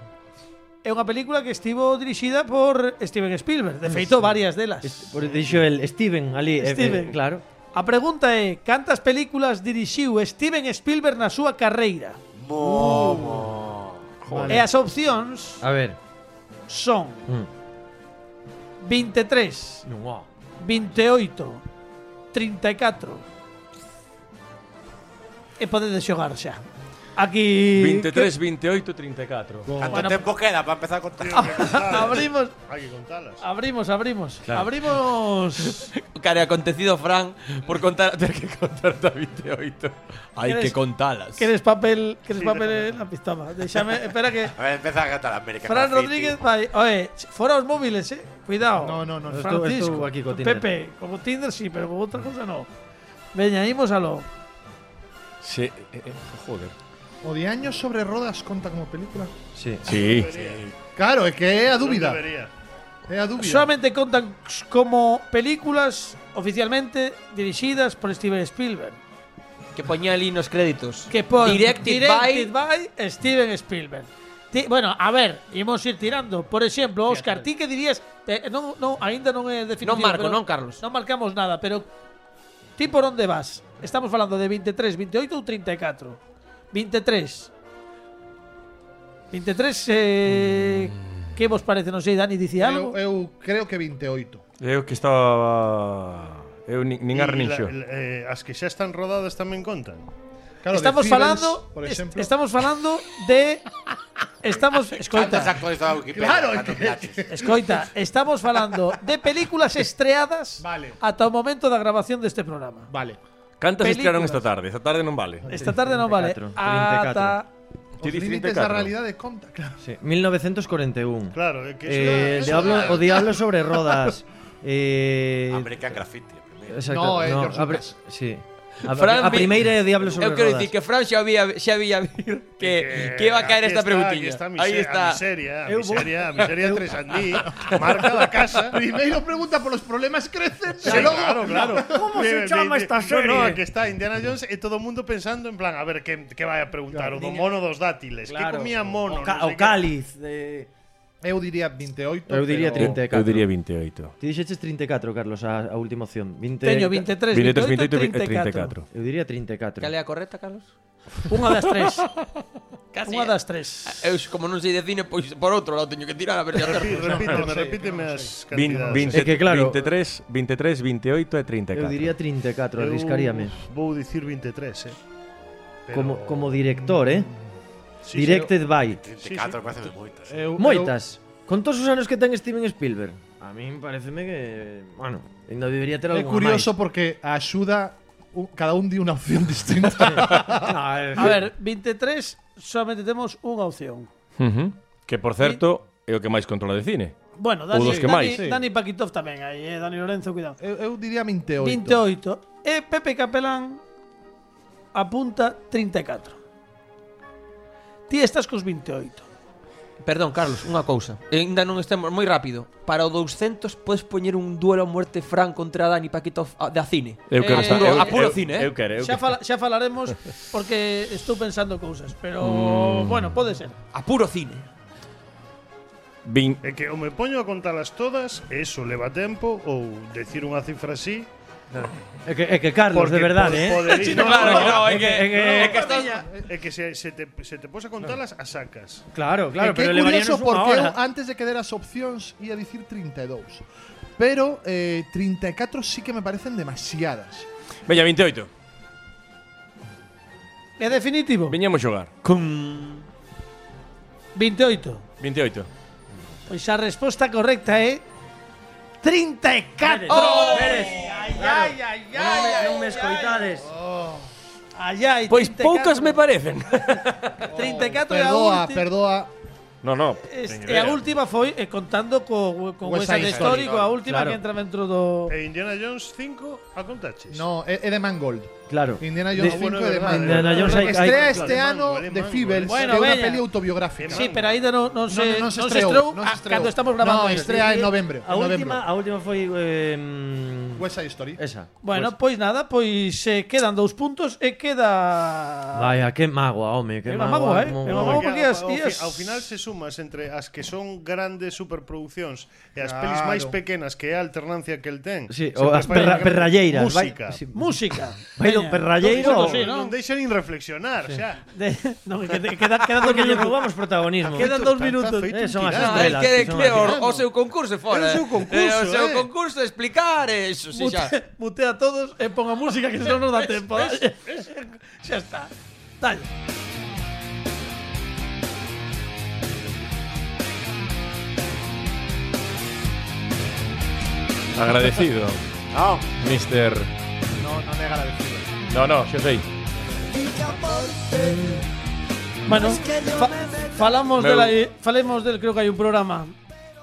B: É unha película que estivo dirixida por Steven Spielberg, de feito varias delas.
D: Est-
H: Este, pues-
D: Por dixo el Steven ali, eh,
B: Steven.
D: eh, claro.
B: A pregunta é, cantas películas dirixiu Steven Spielberg na súa carreira?
E: Oh.
B: E
D: Vale.
B: as opcións
H: Ah.
D: A ver.
B: son e
D: Mm.
H: Mm.
B: 23,
D: No.
B: e 28, 34. E podedes xogar xa. Aquí
G: 23, 28,
E: [laughs]
G: 34.
I: ¿Cuánto
B: Bueno,
I: tiempo queda para empezar a contar?
B: [laughs] abrimos,
E: Hay que contarlas.
B: abrimos, abrimos.
I: [laughs]
B: Abrimos.
C: Cara, acontecido, Fran, por contar. [laughs] Ter que contar da 28. Hai
B: Queres-
C: que contalas.
B: Queres papel, queres
E: Sí,
B: papel na pistola. Déxame, espera que
I: [laughs] A ver, empieza a cantar América.
B: Fran
I: Graffiti.
B: Rodríguez vai, oe, fora os móviles, eh. Cuidado.
H: No, no, no,
D: estou-
B: Francisco,
D: estou aquí co Tinder.
B: Pepe, como Tinder sí, pero como outra cosa no. Veña, imos alo.
G: Sí, eh, eh, joder.
H: O de años sobre rodas conta como película.
D: Sí.
G: Sí.
H: Claro, é que é a dúbida.
E: Debería.
H: É a dúbida.
B: Solamente contan s- como películas oficialmente dirixidas por Steven Spielberg.
C: Que poñía ali nos créditos.
B: Que pon
C: Directed,
B: directed
C: by...
B: by... Steven Spielberg. Ti- bueno, a ver, imos ir tirando. Por exemplo, Óscar, ti que dirías, eh, non, non, aínda non é definitivo,
C: Non marco,
B: pero
C: non, Carlos.
B: Non marcamos nada, pero ti por onde vas? Estamos falando de 23, 28 ou 34? 23. 23 eh,
C: Mm.
B: que vos parece? Non sei, Dani, dici algo?
H: Eu, eu creo que 28.
G: Eu que estaba eu nin, nin
E: Y
G: ar nin
E: la-
G: xo.
E: el- eh, as que xa están rodadas tamén contan.
H: Claro,
B: estamos este-
H: de Fibers,
B: falando,
H: por
B: est-
H: exemplo.
B: estamos falando de
I: ¿Cuánto
B: estamos
I: se ha
B: escoita,
I: actualizado la Wikipedia?
H: Claro,
I: Cuando
H: que-
I: miraches.
B: escoita, estamos falando de películas estreadas
H: Vale.
B: ata o momento da grabación deste programa.
H: Vale.
G: Cantas
B: películas.
G: estrearon esta tarde? Esta tarde non vale.
B: Esta tarde non vale.
D: 34,
B: Ata
G: Ti
H: Os
G: dices
H: límites
G: 34.
H: da realidade conta, claro.
D: Sí, 1941.
E: Claro, é que
D: Eh, el diablo, o diablo sobre rodas. Eh,
I: American Graffiti. primero.
D: exacto,
H: No, eh, George
D: a, pri-
H: Lucas.
D: sí. A,
C: Fran,
D: a
C: vi-
D: primeira é o diablo sobre
C: Eu quero
D: rodas.
C: dicir que Fran xa había, xa había vir que, que iba a caer
E: aquí está,
C: esta
E: aquí
C: preguntiña.
E: Está, a
C: Aí
E: mise- A
C: está.
E: miseria, a
D: Eu vou-
E: miseria, a miseria tres andí. Marca da
D: [laughs]
E: casa.
H: Primeiro pregunta polos problemas crecentes.
E: Sí, claro, claro.
D: Como se
E: Ve- ve-
D: chama
E: ve-
D: esta
E: No, no,
D: serie?
E: aquí está Indiana Jones e todo o mundo pensando en plan, a ver, que, que vai a preguntar? o do mono dos dátiles. que comía
D: o,
E: mono?
D: ca-
E: No sé
D: o
E: qué.
D: cáliz de
H: Eu diría 28.
D: Eu diría
H: pero-
D: 30.
G: Eu diría 28.
D: Ti dixeches 34, Carlos, a, a última opción. 20
B: teño 23,
G: 28,
B: 28,
G: 28
B: 34.
G: 34.
D: Eu diría 34.
C: Cal é a correcta, Carlos?
B: Unha das tres.
C: Casi.
B: Unha das tres.
C: Eu, como non sei de cine, pois por outro lado teño que tirar a ver
E: Sí,
C: se acerto.
E: repíteme,
H: no sé,
E: repíteme as
G: Vin-
E: cantidades.
G: vinte-
D: É que claro-
G: 23, 23, 28 e 34.
D: Eu diría 34,
E: Eu
D: arriscaríame.
E: Vou dicir 23, eh. Pero-
D: Como, como director, eh?
E: Sí,
D: Directed by.
I: 34, parece moitas. eh.
H: Eu-
D: Moitas. Con todos os anos que ten Steven Spielberg. A min pareceme que, bueno, ainda debería ter algo
H: É curioso porque a axuda u- cada un di unha opción distinta.
B: A ver, 23 solamente temos unha opción.
G: Ujú. Que por certo, é o que máis controla de cine.
B: Bueno,
G: Ou
B: Dani,
G: dos que
B: Dani,
G: máis.
H: Sí.
B: Dani Paquitov tamén aí, eh, Dani Lorenzo, cuidado.
H: eu, eu diría 28.
B: 28. E Pepe Capelán apunta 34. Ti estás cos 28.
C: [laughs] Perdón, Carlos, unha cousa. Ainda non estemos moi rápido. Para o 200 podes poñer un duelo a muerte Fran contra Dani Paquito a- da cine.
G: Eu quero
B: Eh,
G: estar-
B: puro-
G: eu-
B: a
C: puro
G: eu-
C: cine, eh.
G: Eu quero, eu
B: Xa, fala,
G: quero.
B: xa falaremos porque estou pensando cousas, pero
G: Mm.
B: bueno, pode ser.
C: A puro cine.
G: Vin-
E: É que o me poño a contalas todas, eso leva tempo ou decir unha cifra así.
D: É que, é que Carlos, de verdade,
E: po-
D: eh?
E: podería-
C: No,
E: [laughs]
C: claro,
E: no,
C: que no,
D: é
C: é que,
D: que- é que-
C: é que estás...
E: É que se, se, te, se te pos a contalas, a sacas.
D: Claro,
H: Claro,
D: claro,
H: que
D: pero
H: é curioso
D: levaríanos unha
H: porque eu
D: hora.
H: antes de que deras opcións ia
D: e
H: dicir 32. Pero eh, 34 sí que me parecen demasiadas.
G: Veña, 28.
B: É definitivo.
G: Veñamos xogar.
B: 28.
G: 28.
B: Pois a resposta correcta é e 34. Oh!
D: Non me, non me escoitades.
B: Allá hai
G: Pois
B: 34,
G: poucas me parecen.
B: 34 e a
H: Perdoa,
B: última.
H: perdoa.
G: No, no.
B: Este, e a última foi eh, contando co, co
H: Pues
B: West Side Story, co a última
D: Claro.
B: que entra dentro do
H: Eh,
E: E Indiana Jones 5 a contaches.
H: No, é é de Mangold.
D: Claro.
H: Indiana Jones
E: Ah,
H: 5
E: bueno,
H: é de
E: de Mangold.
H: Mangold.
D: Indiana Jones hai- hai-
H: Estrea este
E: Claro,
H: ano
E: Mangold,
H: The
E: Mangold.
H: Fevels,
B: Bueno,
H: que é unha
B: veña.
H: peli autobiográfica.
B: Sí, pero aínda non, non
H: No,
B: se,
H: no, no se
B: non
H: estreou, non
B: a-
H: se estreou.
B: cando estamos grabando
H: No,
B: isto.
H: estrea en novembro.
D: A
H: en Pues- novembro.
D: última, a última foi eh, mm,
H: West Side Story.
D: esa.
B: Bueno, pois
H: Pues-
B: nada, pois se quedan dous puntos e queda
D: Vaya, que magoa, home, que
B: É unha magoa,
D: magoa.
B: eh, é unha magoa.
E: Porque
B: porque
E: ao-
B: as- e
E: ao, fi-
B: as-
E: ao final se sumas entre as que son grandes superproduccións e as
H: Claro.
E: pelis máis pequenas que é a alternancia que el ten.
D: Sí, o
E: sempre
D: as
E: fai
D: perra,
E: gran
D: perralleiras.
E: Música.
D: Vai, sí.
H: [laughs]
B: música.
D: vai do
B: Veña.
D: perralleiro.
B: Dous puntos, sí,
E: Non,
B: non?
E: non deixa nin reflexionar, xa.
D: De,
B: Non, que queda, queda dos
D: porque lle
B: minutos.
D: roubamos protagonismo.
B: Quedan dos
E: Está
B: minutos.
E: feito
D: Eh,
E: un
D: son as
E: tirano.
D: estrelas.
C: que,
D: que son
C: que
D: as-
C: o, o seu concurso é
E: É
C: fora.
E: o seu concurso,
C: eh, o seu
E: eh.
C: concurso é explicar eh, eso, si xa.
B: Mute, mutea a todos e ponga música que senón non
H: [laughs]
B: dá tempo. dalle. Xa está. Dalle.
G: Agradecido,
I: No,
G: mister.
H: No, no me agradecido.
G: No, no, xa sei.
B: Bueno, fa- falamos
G: Meu.
B: de la, falemos del creo que hai un programa.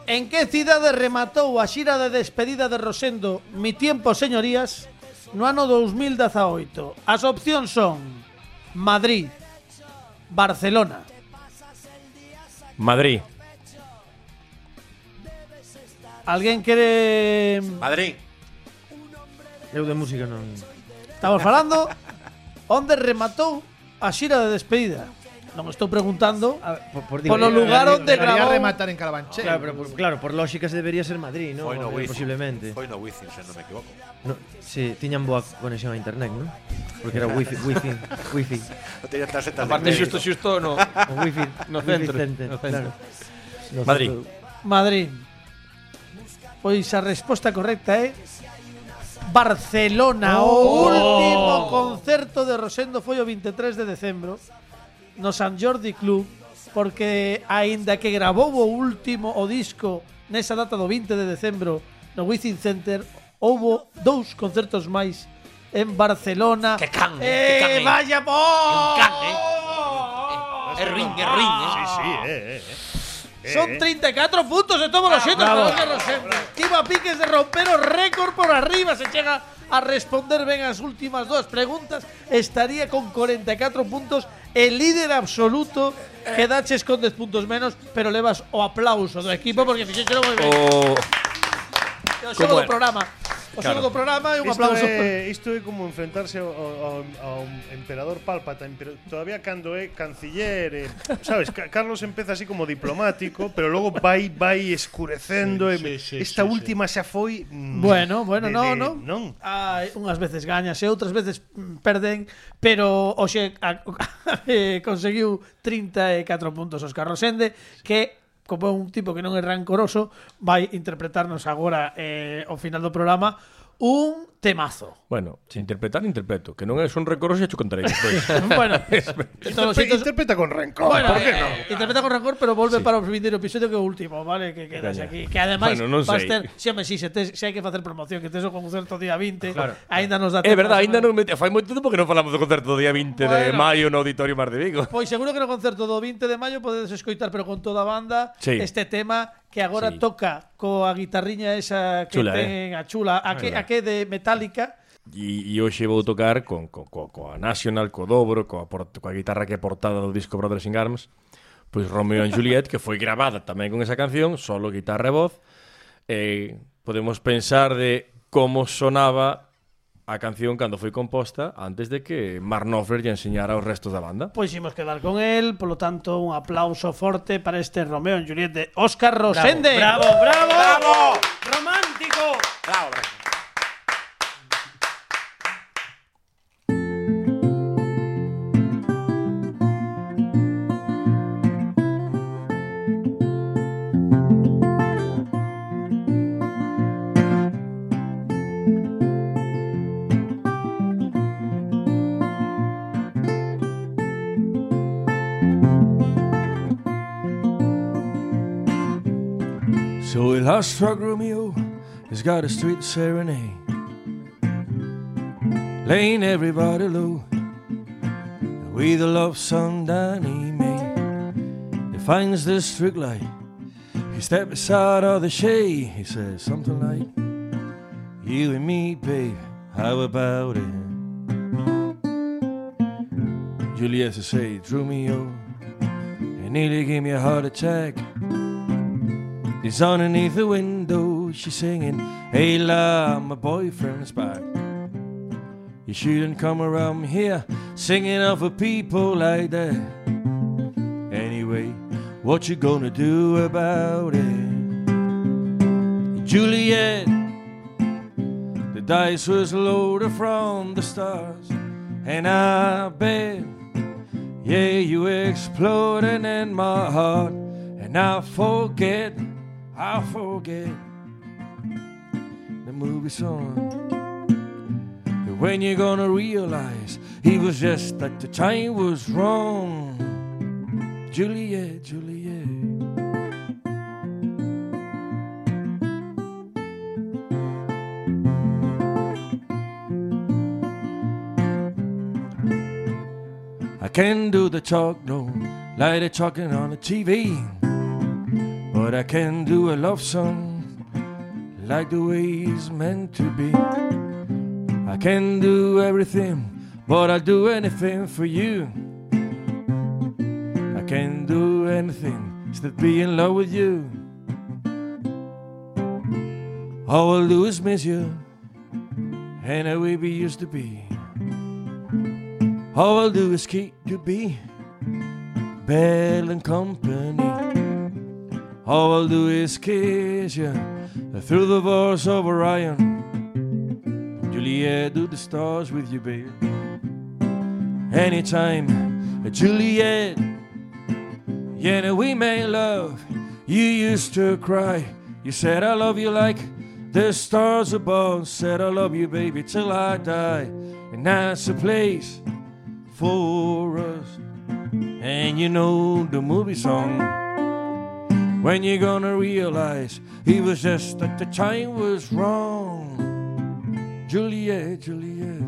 B: En que cidade rematou a xira de despedida de Rosendo Mi tiempo, señorías, no ano 2018? As opcións son Madrid, Barcelona,
G: Madrid.
B: Alguén quere...
I: Madrid.
D: Eu de música non.
B: Estamos falando onde rematou a xira de despedida. Non estou preguntando
D: A ver, por, por,
B: Polo
D: digo, eh,
B: lugar onde
H: Debería
B: grabou...
H: rematar en Carabanchel.
D: Claro, pero por, claro, por lógica se debería ser Madrid, ¿no?
I: Foi no
D: Eh,
I: Wizzing.
D: Posiblemente.
I: Foi no Wizzing, se non me equivoco.
D: No, sí, tiñan boa conexión a internet, ¿no? Porque era wifi, wifi, wifi,
I: Non teña tarxetas
G: Aparte xusto xusto no.
D: o wifi,
G: No
D: wifi
G: centro,
D: center,
G: no centro.
D: claro. No
G: Madrid.
D: centro.
B: Madrid. Pois a resposta correcta é Barcelona.
C: Oh.
B: O último concerto de Rosendo foi o 23 de decembro no San Jordi Club porque aínda que gravou o último o disco nesa data do 20 de decembro no Wizzing Center houbo dous concertos máis en Barcelona.
C: Que can, que can,
B: eh,
C: eh.
B: vaya bo!
C: Que can, eh. É ruin, é ruin,
E: Sí,
C: eh.
E: sí, eh, eh. eh.
B: Son
E: Eh,
B: 34 puntos de todos los sitios. Tiba Piques de romper o récord por arriba. Se llega a responder ben as últimas dos preguntas. Estaría con 44 puntos el líder absoluto. Que daches con 10 puntos menos, pero levas o aplauso do equipo porque fixéchelo moi ben.
G: O
B: O xogo
G: como
B: do
G: era?
B: programa. O xogo
G: Claro.
B: do programa e un
E: Isto
B: aplauso.
E: é, isto é como enfrentarse ao, ao, ao emperador Palpatine, pero todavía cando é canciller, eh, sabes, Ca- Carlos empeza así como diplomático, pero logo vai vai escurecendo e
H: Sí,
E: me-
H: sí, sí,
E: esta
H: sí,
E: última xa foi mm,
B: Bueno,
E: [laughs]
B: bueno,
E: de-
B: no,
E: de-
B: no.
E: non.
B: Hai unhas veces gañas e outras veces mm, perden, pero hoxe a, [laughs] eh, conseguiu 34 puntos Óscar Rosende, que como é un tipo que non é rancoroso, vai interpretarnos agora eh, ao final do programa un temazo.
G: Bueno, se interpretar, interpreto. Que non é son recorros e xo contarei despois. [laughs]
B: bueno, de todos os
E: Pe-
B: xeitos-
E: Interpreta con rencor,
B: Bueno,
E: por que
B: eh,
E: non?
B: interpreta con rancor, pero volve para o primeiro episodio que é o último, vale? Que quedas
G: Caña.
B: aquí. Que ademais,
G: Bueno, non
B: vas
G: sei.
B: ter, se, home, si, se, tes, se hai que facer promoción, que tes o concerto día 20, aínda nos dá
G: É verdade,
B: tempo,
G: ainda non me... fai moito tempo que non falamos do concerto do día 20 de
B: Bueno.
G: maio no Auditorio Mar de Vigo.
B: Pois seguro que no concerto do 20 de maio podedes escoitar, pero con toda a banda,
G: Sí.
B: este tema que agora
G: Sí.
B: toca coa guitarriña esa que
G: Chula, eh?
B: ten a chula, a que, a que de Metallica.
G: E, e hoxe vou tocar con, con, co, coa National, co Dobro, coa, por, coa guitarra que é portada do disco Brothers in Arms, pois Romeo and Juliet, que foi gravada tamén con esa canción, solo guitarra e voz, e podemos pensar de como sonaba a canción cando foi composta antes de que Mark Knopfler lle enseñara aos restos da banda.
B: Pois imos quedar con el, polo tanto, un aplauso forte para este Romeo e Juliet de Óscar Rosende.
D: Bravo, bravo.
I: ¡Bravo!
D: Romántico.
I: Bravo, bravo.
G: So a lost truck Romeo has got a street serenade. Laying everybody low with a love song that he made. He finds the street light. He steps out of the shade. He says something like, "You and me, babe, how about it?" Juliet say, "Drew me over and nearly gave me a heart attack." He's underneath the window. She's singing, "Hey la, my boyfriend's back." You shouldn't come around here singing off of people like that. Anyway, what you gonna do about it? Juliet, the dice was loaded from the stars, and I bet, yeah, you exploding in my heart, and I forget, I forget the movie song. When you're gonna realize he was just that the time was wrong. Juliet, Juliet. I can do the talk, no, like they're talking on the TV. But I can do a love song, like the way it's meant to be. I can do everything, but I'll do anything for you. I can do anything except be in love with you. All I'll do is miss you, and the way we used to be. All I'll do is keep you be, Bell and company. All I'll do is kiss you through the bars of Orion. Juliet, do the stars with you, baby. Anytime, Juliet. Yeah, now we made love. You used to cry. You said, I love you like the stars above. Said, I love you, baby, till I die. And that's the place for us. And you know the movie song. When you're gonna realize he was just that the time was wrong. Juliet, Juliet.